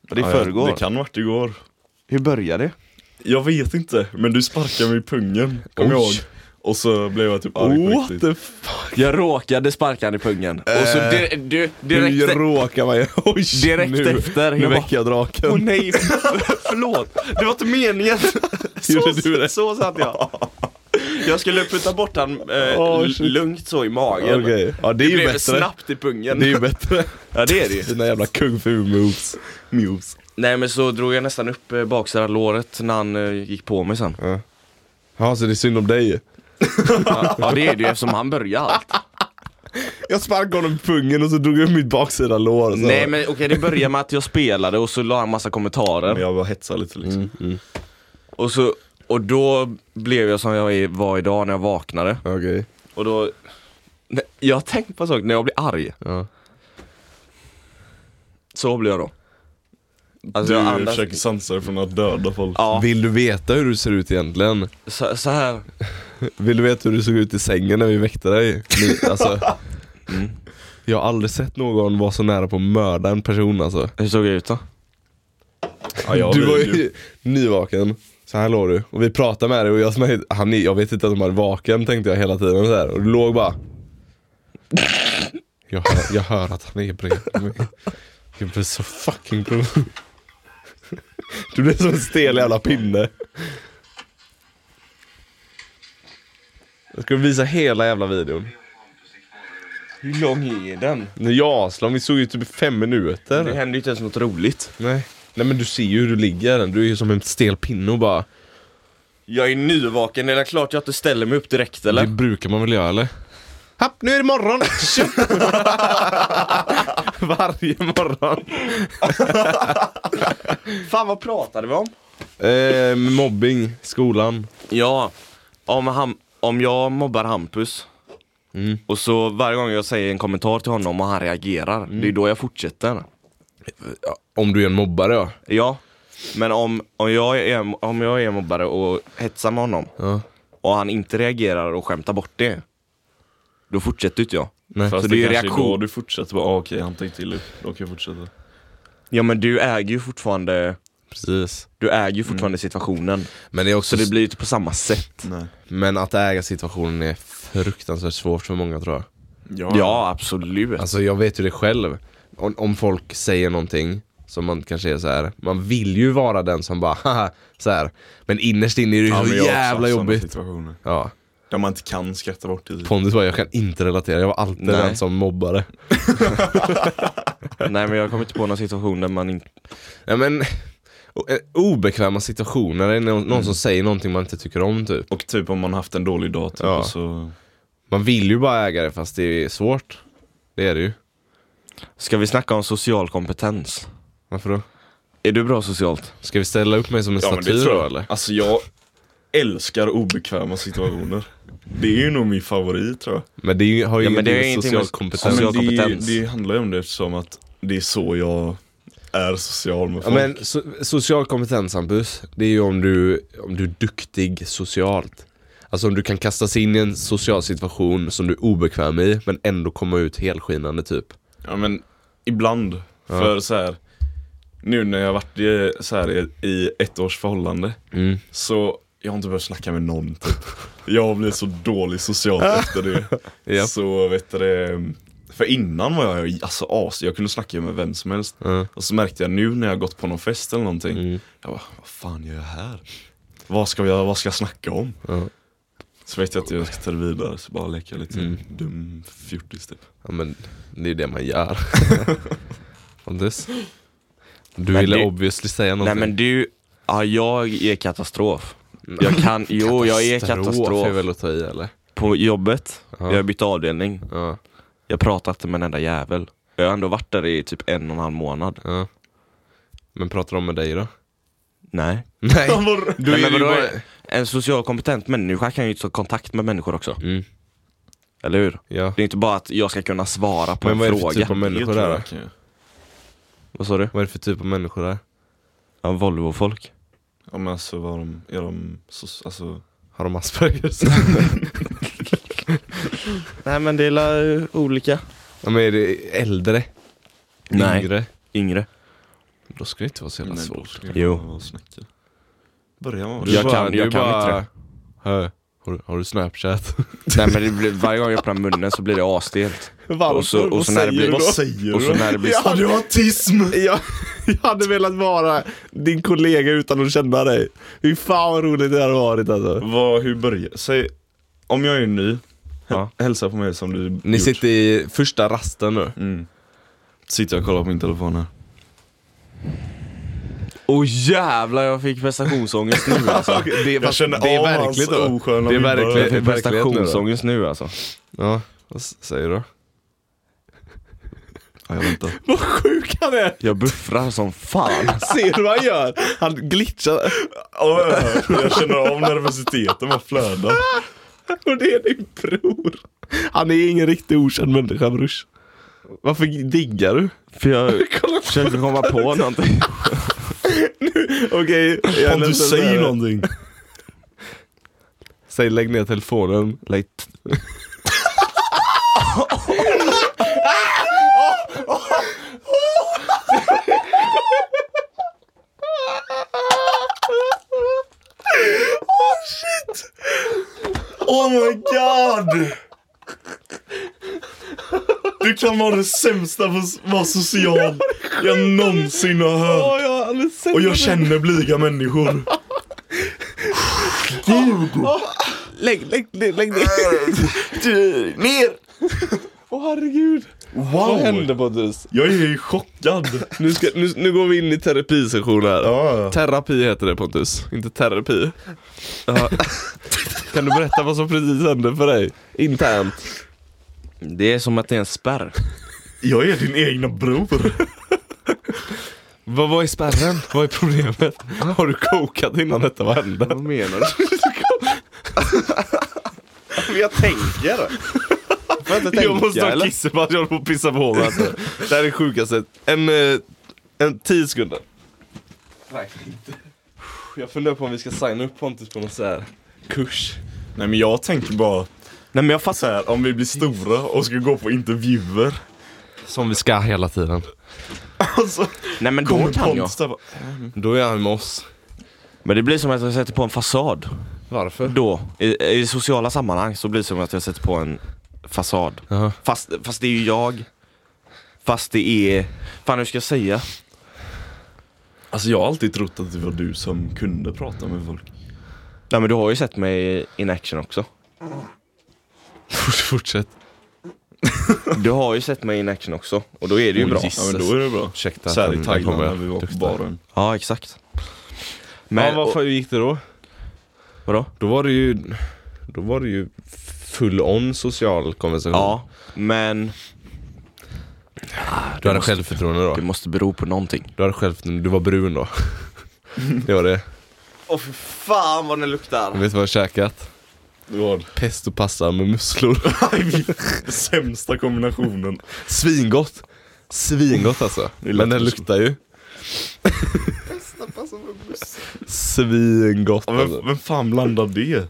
Speaker 2: Var det i
Speaker 3: Ja, ja,
Speaker 2: förrgår?
Speaker 3: Det kan ha varit igår.
Speaker 2: Hur började det?
Speaker 3: Jag vet inte, men du sparkade mig i pungen. Kom
Speaker 1: Oj.
Speaker 3: jag ihåg. Och så blev jag typ arg på riktigt.
Speaker 1: the fuck?
Speaker 2: Jag råkade sparka han i pungen. Och så di- Eh, du, direkt,
Speaker 1: Hur råkar man göra? Oj,
Speaker 2: direkt
Speaker 1: nu,
Speaker 2: efter.
Speaker 1: Nu
Speaker 2: jag bara,
Speaker 1: väcker jag draken.
Speaker 2: Åh nej, förlåt. Det var inte meningen. Så,
Speaker 1: Gjorde du det?
Speaker 2: så satt jag. Jag skulle putta bort han eh,
Speaker 1: Åh,
Speaker 2: l-
Speaker 1: shit.
Speaker 2: lugnt så i magen.
Speaker 1: Okej. Ja det är
Speaker 2: Det
Speaker 1: ju
Speaker 2: blev
Speaker 1: bättre.
Speaker 2: snabbt i pungen.
Speaker 1: Det är ju bättre.
Speaker 2: Ja det är det ju.
Speaker 1: Dina jävla kung fu moves. moves.
Speaker 2: Nej men så drog jag nästan upp eh, baksida låret när han eh, gick på mig sen.
Speaker 1: Ja så det är synd om dig.
Speaker 2: Ja, ja det är det ju eftersom han började allt.
Speaker 1: Jag sparkade honom i pungen och så drog jag upp mitt baksida lår. Så.
Speaker 2: Nej men okej det började med att jag spelade och så la han massa kommentarer.
Speaker 3: Men jag var hetsad lite liksom.
Speaker 1: Mm.
Speaker 2: Och, så, och då blev jag som jag är- var idag när jag vaknade.
Speaker 1: Okej.
Speaker 2: Och då... Nej, Jag har tänkt på en sak, när jag blir arg,
Speaker 1: Ja.
Speaker 2: så blir jag då. Alltså
Speaker 3: Du
Speaker 2: jag andas...
Speaker 3: försöker sansa dig från att döda folk.
Speaker 2: Ja,
Speaker 1: Vill du veta hur du ser ut egentligen?
Speaker 2: så, så här.
Speaker 1: Vill du veta hur du såg ut i sängen när vi väckte dig? Ni, alltså, Jag har aldrig sett någon vara så nära på att mörda en person alltså.
Speaker 2: Hur såg jag ut då?
Speaker 3: Ja, jag
Speaker 1: du var
Speaker 3: vill
Speaker 1: ju nyvaken, så här låg du. Och vi pratade med dig och jag, som är- han, är- jag vet inte om han är vaken tänkte jag hela tiden. Så här. Och du låg bara. Jag hör, jag hör att han är bredvid mig. Jag blir så fucking provo- Du blir som en stel jävla pinne. Jag ska visa hela jävla videon.
Speaker 2: Hur lång är den?
Speaker 1: När jag Aslan, vi såg ju typ i fem minuter.
Speaker 2: Det händer ju inte ens något roligt.
Speaker 1: Nej. Nej men du ser ju hur du ligger. Du är ju som en stel pinne och bara
Speaker 2: Jag är nyvaken, är det klart jag inte ställer mig upp direkt eller?
Speaker 1: Det brukar man väl göra eller? Happ, nu är det morgon! Varje morgon.
Speaker 2: Fan vad pratade vi om?
Speaker 1: Eh, mobbing, skolan.
Speaker 2: Ja, om, ham- om jag mobbar Hampus
Speaker 1: Mm.
Speaker 2: och så varje gång jag säger en kommentar till honom och han reagerar, det är då jag fortsätter.
Speaker 1: Om du är en mobbare ja.
Speaker 2: Ja, men om, om, jag är, om jag är mobbare och hetsar med honom
Speaker 1: ja.
Speaker 2: och han inte reagerar och skämtar bort det, då fortsätter inte jag.
Speaker 1: Nej.
Speaker 3: Fast
Speaker 2: Så
Speaker 3: det,
Speaker 2: det är
Speaker 3: kanske
Speaker 2: reaktion.
Speaker 3: är då du fortsätter bara, ah, okej han tänkte till då kan jag fortsätta.
Speaker 2: Ja men du äger ju fortfarande,
Speaker 1: Precis.
Speaker 2: du äger ju fortfarande situationen.
Speaker 1: Men, det är också,
Speaker 2: Så det blir ju inte på samma typ sätt.
Speaker 3: Nej.
Speaker 1: men att äga situationen är fruktansvärt svårt för många tror jag.
Speaker 3: Ja.
Speaker 2: Ja, absolut.
Speaker 1: Alltså jag vet ju det själv. Om, om folk säger någonting som man kanske är så här. man vill ju vara den som bara haha, så här. Men alltså, innerst inne är det ju
Speaker 3: Ja, men
Speaker 1: så
Speaker 3: jag har också
Speaker 1: jävla
Speaker 3: haft såna
Speaker 1: jobbigt.
Speaker 3: situationer
Speaker 1: Ja.
Speaker 3: Där man inte kan skratta bort det.
Speaker 1: Pontus bara, jag kan inte relatera, jag var alltid
Speaker 2: Nej.
Speaker 1: den som mobbade.
Speaker 2: Nej men jag kommer inte på någon situation där man inte...
Speaker 1: Ja, men, o- eh, obekväma situationer, det är någon, någon
Speaker 2: Mm.
Speaker 1: som säger någonting man inte tycker om typ.
Speaker 3: Och typ om man haft en dålig dag typ,
Speaker 1: Ja.
Speaker 3: och så...
Speaker 1: Man vill ju bara äga det fast det är svårt. Det är det ju.
Speaker 2: Ska vi snacka om social kompetens?
Speaker 1: Varför då?
Speaker 2: Är du bra socialt?
Speaker 1: Ska vi ställa upp mig som en staty då eller?
Speaker 3: Alltså jag älskar obekväma situationer. Det är ju nog min favorit tror jag.
Speaker 1: Men det är ju- har ju
Speaker 2: Ja, men det
Speaker 1: ingenting
Speaker 2: är
Speaker 1: med
Speaker 2: ingenting
Speaker 1: social
Speaker 2: med-
Speaker 1: Alltså, kompetens.
Speaker 2: Social
Speaker 3: Ja, men det,
Speaker 2: kompetens.
Speaker 3: det handlar ju om det eftersom att det är så jag är social med
Speaker 1: Ja,
Speaker 3: folk.
Speaker 1: men so social kompetens Hampus, det är ju om du, om du är duktig socialt. Alltså om du kan kastas in i en social situation som du är obekväm i men ändå komma ut helskinande typ.
Speaker 3: Ja men ibland. För så här. Nu när jag har varit i, så här, i- i ett års förhållande
Speaker 1: Mm.
Speaker 3: så jag har inte börjat snacka med någon typ. Jag blir så dålig socialt efter det.
Speaker 1: Japp.
Speaker 3: Så vet du det, För innan var jag alltså as, jag kunde snacka med vem som helst.
Speaker 1: Ja.
Speaker 3: Och så märkte jag nu när jag gått på någon fest eller någonting.
Speaker 1: Mm.
Speaker 3: Jag bara, vad fan gör jag här? Vad ska jag, vad ska jag snacka om?
Speaker 1: Ja.
Speaker 3: Så vet jag att jag ska ta det vidare, så bara leka lite
Speaker 1: Mm.
Speaker 3: dum fjortis typ.
Speaker 1: Ja men det är det man gör. Anders? Du
Speaker 2: Men
Speaker 1: ville
Speaker 2: det-
Speaker 1: obviously säga
Speaker 2: Nej
Speaker 1: någonting.
Speaker 2: men du, ja, jag är katastrof. Jag kan, jo jag är
Speaker 1: är
Speaker 2: katastrof.
Speaker 1: väl att ta i eller?
Speaker 2: På jobbet,
Speaker 1: Ja.
Speaker 2: jag har bytt avdelning.
Speaker 1: Ja.
Speaker 2: Jag pratar inte med en enda jävel. Jag har ändå varit där i typ en och en halv månad.
Speaker 1: ja. Men pratar de med dig då?
Speaker 2: Nej.
Speaker 1: Nej!
Speaker 2: Du
Speaker 1: är
Speaker 2: Nej, men
Speaker 1: ju
Speaker 2: vadå?
Speaker 1: bara-
Speaker 2: En social kompetent människa kan ju ta kontakt med människor också.
Speaker 1: Mm.
Speaker 2: Eller hur?
Speaker 1: Ja.
Speaker 2: Det är inte bara att jag ska kunna svara på
Speaker 1: Men vad är
Speaker 2: en
Speaker 1: det för
Speaker 2: fråga.
Speaker 1: typ av människor
Speaker 3: Det tror
Speaker 1: där
Speaker 3: jag
Speaker 1: då?
Speaker 3: kan jag.
Speaker 2: Vad sa du?
Speaker 1: Vad är det för typ av människor där?
Speaker 2: Ja, Volvo-folk.
Speaker 3: Ja men alltså var de, är de, så, alltså
Speaker 1: Har de Aspergers?
Speaker 2: Nej men det är la, olika.
Speaker 1: ja, men är det äldre?
Speaker 2: Nej.
Speaker 1: Yngre?
Speaker 2: Yngre.
Speaker 1: Då ska det inte vara så jävla
Speaker 3: Nej,
Speaker 1: svårt.
Speaker 3: då ska jag
Speaker 2: Jo.
Speaker 3: bara vara och snacka. Börjar man vara
Speaker 2: Jag kan- jag kan inte det.
Speaker 1: Hö, har, du- har du snapchat?
Speaker 2: Nej men det blir, varje gång jag öppnar munnen så blir det asstelt.
Speaker 1: Varför?
Speaker 2: Och så, och så när det
Speaker 3: Vad
Speaker 2: blir...
Speaker 3: säger
Speaker 2: och så
Speaker 3: du?
Speaker 2: när det blir-
Speaker 3: Ja du har autism!
Speaker 1: Jag, jag hade velat vara din kollega utan att känna dig. Hur fan vad roligt det hade varit alltså.
Speaker 3: Vad, hur börjar, säg, om jag är ny,
Speaker 2: Ja.
Speaker 3: hälsa på mig som du
Speaker 1: Ni
Speaker 3: gjort.
Speaker 1: sitter i första rasten nu.
Speaker 3: Mm. Sitter jag och kollar på min telefon här.
Speaker 2: Åh jävlar jag fick prestationsångest nu alltså.
Speaker 1: Det är,
Speaker 3: Jag känner
Speaker 1: det är
Speaker 3: av hans
Speaker 1: verkligt då.
Speaker 3: osköna
Speaker 1: Det är
Speaker 3: vibbar.
Speaker 1: verkligt.
Speaker 2: Jag fick
Speaker 1: verkligheten nu då?
Speaker 2: prestationsångest nu alltså.
Speaker 1: Ja, vad s- säger du?
Speaker 3: Ja, jag väntar.
Speaker 1: Vad sjuk han är!
Speaker 2: Jag buffrar som fan.
Speaker 1: Ser du vad han gör? Han glitchar.
Speaker 3: Ja, jag känner av nervositeten bara flödar.
Speaker 1: Och det är din bror. Han är ingen riktig okänd människa brors. Varför diggar du?
Speaker 2: För jag försökte komma på någonting.
Speaker 1: Okej, jag är
Speaker 3: Om du
Speaker 1: ledsen.
Speaker 3: säger någonting.
Speaker 1: Säg lägg ner telefonen. Lägg t-
Speaker 3: Oh my god! Du kan vara det sämsta på att vara social jag någonsin har hört.
Speaker 1: ja, han är sämst.
Speaker 3: Och jag känner blyga människor.
Speaker 1: Lägg, lägg, lägg, lägg ner.
Speaker 3: Ner!
Speaker 1: Åh herregud. Vad hände
Speaker 3: Wow!
Speaker 1: Pontus?
Speaker 3: Jag är ju chockad.
Speaker 1: Nu, ska, nu, nu går vi in i terapisession här.
Speaker 3: Ja.
Speaker 1: Terapi heter det Pontus, inte terapi. Ja. kan du berätta vad som precis hände för dig? Internt.
Speaker 2: Det är som att det är en spärr.
Speaker 3: Jag är din egna bror.
Speaker 1: Vad var är spärren? Vad är problemet? Har du kokat innan detta? Vad hände?
Speaker 2: Vad menar du?
Speaker 4: Jag tänker.
Speaker 2: Får jag inte
Speaker 1: jag måste
Speaker 2: tänka
Speaker 1: ha
Speaker 2: eller?
Speaker 1: kisspaus, jag håller på att pissa på mig. Alltså. Det här är sjukaste. En, eh, en tio sekunder. Jag funderar på om vi ska signa upp Pontus på någon så här kurs.
Speaker 3: Nej men jag tänker bara
Speaker 2: Nej men jag fattar.
Speaker 3: så här, om vi blir stora och ska gå på intervjuer.
Speaker 1: Som vi ska hela tiden.
Speaker 3: Alltså,
Speaker 2: Nej men då
Speaker 3: kommer
Speaker 2: kan jag.
Speaker 3: Pontus där bara,
Speaker 1: Då är han med oss.
Speaker 2: Men det blir som att jag sätter på en fasad.
Speaker 1: Varför?
Speaker 2: Då, i, i sociala sammanhang så blir det som att jag sätter på en fasad.
Speaker 1: Jaha.
Speaker 2: Fast, fast det är ju jag. Fast det är... Fan hur ska jag säga?
Speaker 3: Alltså jag har alltid trott att det var du som kunde prata med folk.
Speaker 2: Nej men du har ju sett mig in action också.
Speaker 1: Fortsätt.
Speaker 2: Du har ju sett mig in action också. Och då är det ju
Speaker 1: Oh,
Speaker 2: bra.
Speaker 1: Jesus.
Speaker 3: Ja men då är det bra.
Speaker 1: Ursäkta.
Speaker 3: Så här
Speaker 1: men
Speaker 3: i
Speaker 1: där
Speaker 3: Thailand
Speaker 1: kommer
Speaker 3: när vi var på
Speaker 1: duktig.
Speaker 3: baren.
Speaker 2: Ja exakt.
Speaker 1: Men
Speaker 2: Men,
Speaker 1: ja, varför gick det då?
Speaker 2: vadå?
Speaker 1: Då var det ju, då var det ju full on social konversation.
Speaker 2: Ja, men
Speaker 1: du hade självförtroende då?
Speaker 2: det måste bero på någonting.
Speaker 1: Du hade självförtroende, du var brun då. det var det.
Speaker 4: Åh för fan vad den
Speaker 1: Jag
Speaker 4: luktar.
Speaker 1: vet du vad jag har käkat?
Speaker 3: Vad?
Speaker 1: Pesto pasta med musslor.
Speaker 3: Sämsta kombinationen.
Speaker 1: Svingott! Svingott alltså.
Speaker 3: Det lät
Speaker 1: Men den
Speaker 3: som-
Speaker 1: luktar ju. Svingott
Speaker 3: Ja, vem,
Speaker 1: alltså.
Speaker 3: vem fan blandar det?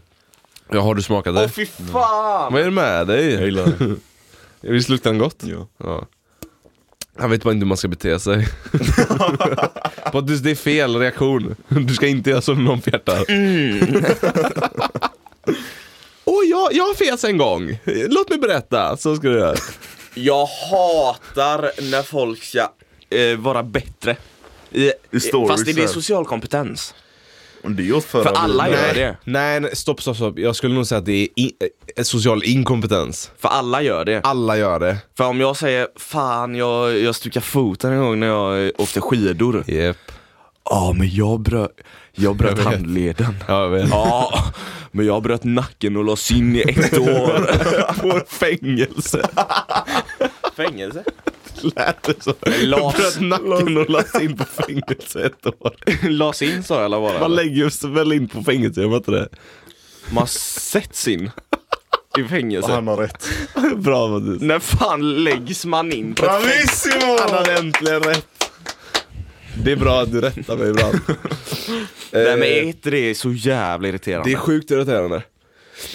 Speaker 1: Ja, har du smakat
Speaker 4: Åh
Speaker 1: det?
Speaker 4: fy fan!
Speaker 1: Vad är det med
Speaker 3: Jag
Speaker 1: dig?
Speaker 3: gillar det.
Speaker 1: Visst luktar den gott?
Speaker 3: Ja.
Speaker 1: Ja. Han vet bara inte hur man ska bete sig. Pontus, det är fel reaktion. Du ska inte göra som någon fjärtar. Åh, jag, jag fes en gång. Låt mig berätta. Så ska du göra.
Speaker 4: Jag hatar när folk ska...
Speaker 2: Eh, vara bättre. I,
Speaker 3: I stories
Speaker 2: fast är det
Speaker 3: här.
Speaker 2: social kompetens?
Speaker 3: Och det är åt förra
Speaker 2: För alla
Speaker 3: bilen.
Speaker 2: gör det.
Speaker 1: Nej, nej, stopp, stopp, stopp. Jag skulle nog säga att det är i- eh, social inkompetens.
Speaker 2: För alla gör det.
Speaker 1: Alla gör det.
Speaker 2: För om jag säger fan jag, jag stukade foten en gång när jag eh, åkte skidor.
Speaker 1: Yep.
Speaker 2: Ja men jag bröt, jag bröt
Speaker 1: Jag vet.
Speaker 2: handleden.
Speaker 1: Ja, jag vet.
Speaker 2: Ja, men jag bröt nacken och lades in i ett år.
Speaker 1: På fängelse.
Speaker 4: Fängelse?
Speaker 1: Lät det så?
Speaker 2: Las-
Speaker 1: Bröt nacken och lades in på fängelse ett år.
Speaker 2: Lades in sa jag eller vad det
Speaker 1: Man
Speaker 2: var?
Speaker 1: lägger sig väl in på fängelse, gör man inte det?
Speaker 2: Man sätts in i
Speaker 3: Ja,
Speaker 2: fängelse.
Speaker 3: Han har rätt.
Speaker 1: Bra Mattias.
Speaker 2: När fan läggs man in på ett fängelse?
Speaker 3: Bravissimo!
Speaker 1: Han hade äntligen rätt. Det är bra att du rättar mig ibland.
Speaker 2: Nej men är
Speaker 1: Eh,
Speaker 2: inte det så jävla irriterande?
Speaker 1: det är sjukt irriterande.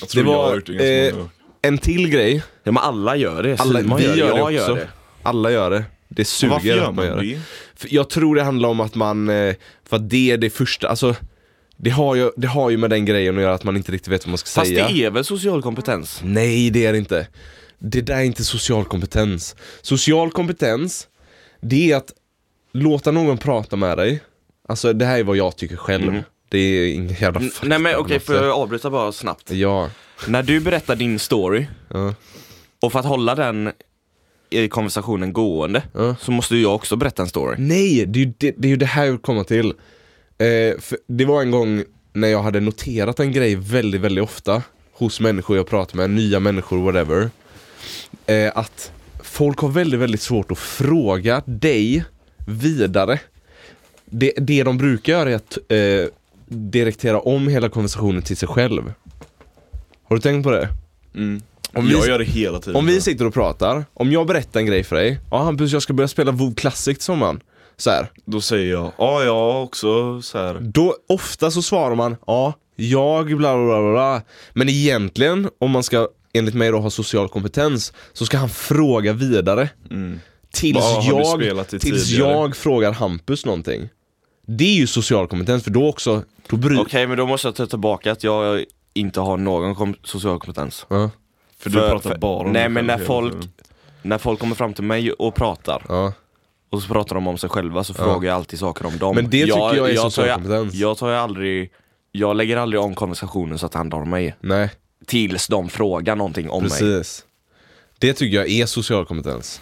Speaker 3: Jag tror
Speaker 1: Det
Speaker 3: jag
Speaker 1: var,
Speaker 3: har gjort det ganska
Speaker 1: eh,
Speaker 3: många gånger.
Speaker 1: En till grej.
Speaker 2: ja, men alla gör det,
Speaker 1: Alla,
Speaker 2: Simon
Speaker 1: vi
Speaker 2: gör det, jag
Speaker 1: också.
Speaker 2: gör det.
Speaker 1: Alla gör det. Det suger
Speaker 3: Varför gör
Speaker 1: att man
Speaker 3: man
Speaker 1: gör det.
Speaker 3: det?
Speaker 1: För jag tror det handlar om att man, eh, för att det är det första, alltså det har, ju, det har ju med den grejen att göra att man inte riktigt vet vad man ska
Speaker 2: Fast
Speaker 1: säga.
Speaker 2: det är väl social kompetens?
Speaker 1: Nej, det är det inte. Det där är inte social kompetens. Social kompetens, det är att låta någon prata med dig. Alltså det här är vad jag tycker själv. Det är ingen jävla
Speaker 2: Mm. N-
Speaker 1: fakta.
Speaker 2: Nej men
Speaker 1: på
Speaker 2: okej,
Speaker 1: något
Speaker 2: får jag
Speaker 1: sätt.
Speaker 2: avbryta bara snabbt?
Speaker 1: Ja.
Speaker 2: När du berättar din story,
Speaker 1: Ja.
Speaker 2: och för att hålla den i konversationen gående,
Speaker 1: Ja. Mm.
Speaker 2: så måste ju jag också berätta en story.
Speaker 1: Nej, det är ju det, det, är ju det här jag vill komma till. Eh, för det var en gång när jag hade noterat en grej väldigt, väldigt ofta hos människor jag pratar med, nya människor, whatever. Eh, att folk har väldigt, väldigt svårt att fråga dig vidare. Det, det de brukar göra är att eh, direktera om hela konversationen till sig själv. Har du tänkt på det?
Speaker 3: Mm.
Speaker 1: Om vi-
Speaker 3: jag gör det hela tiden.
Speaker 1: Om vi sitter och pratar, om jag berättar en grej för dig, ja Hampus jag ska börja spela WoW Classic till sommaren. Så här.
Speaker 3: Då säger jag, ja jag har också så här.
Speaker 1: Då ofta så svarar man ja, jag bla bla bla bla. Men egentligen, om man ska enligt mig då ha social kompetens, så ska han fråga vidare.
Speaker 3: Mm.
Speaker 1: Tills,
Speaker 3: Vad har du
Speaker 1: jag,
Speaker 3: spelat i
Speaker 1: tills
Speaker 3: tidigare?
Speaker 1: jag frågar Hampus någonting. Det är ju social kompetens, för då också, då bryr...
Speaker 2: Okej, men då måste jag ta tillbaka att jag inte har någon kom- social kompetens.
Speaker 1: Ja,
Speaker 3: För, du pratar bara om
Speaker 2: Nej
Speaker 3: dig
Speaker 2: men när
Speaker 3: själv hela
Speaker 2: folk,
Speaker 3: tiden.
Speaker 2: när folk kommer fram till mig och pratar,
Speaker 1: ja.
Speaker 2: och så pratar de om sig själva så frågar jag alltid saker om dem.
Speaker 1: Men det tycker jag är social
Speaker 2: tar,
Speaker 1: kompetens.
Speaker 2: Jag tar ju aldrig, jag lägger aldrig om konversationen så att det handlar om mig.
Speaker 1: Nej,
Speaker 2: Tills de frågar någonting om mig.
Speaker 1: precis. Det tycker jag är social kompetens.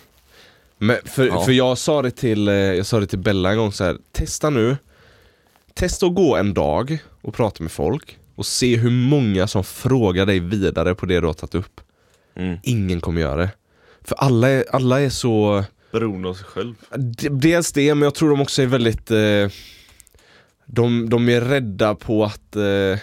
Speaker 1: Men för,
Speaker 2: Ja.
Speaker 1: för jag sa det till, eh, jag sa det till Bella en gång så här. testa nu. Testa att gå en dag och prata med folk och se hur många som frågar dig vidare på det du har tagit upp.
Speaker 2: Mm.
Speaker 1: Ingen kommer göra det. För alla är, alla är så...
Speaker 3: Beroende av sig själv.
Speaker 1: D- Dels det, men jag tror de också är väldigt... Eh, de, de är rädda på att... Eh,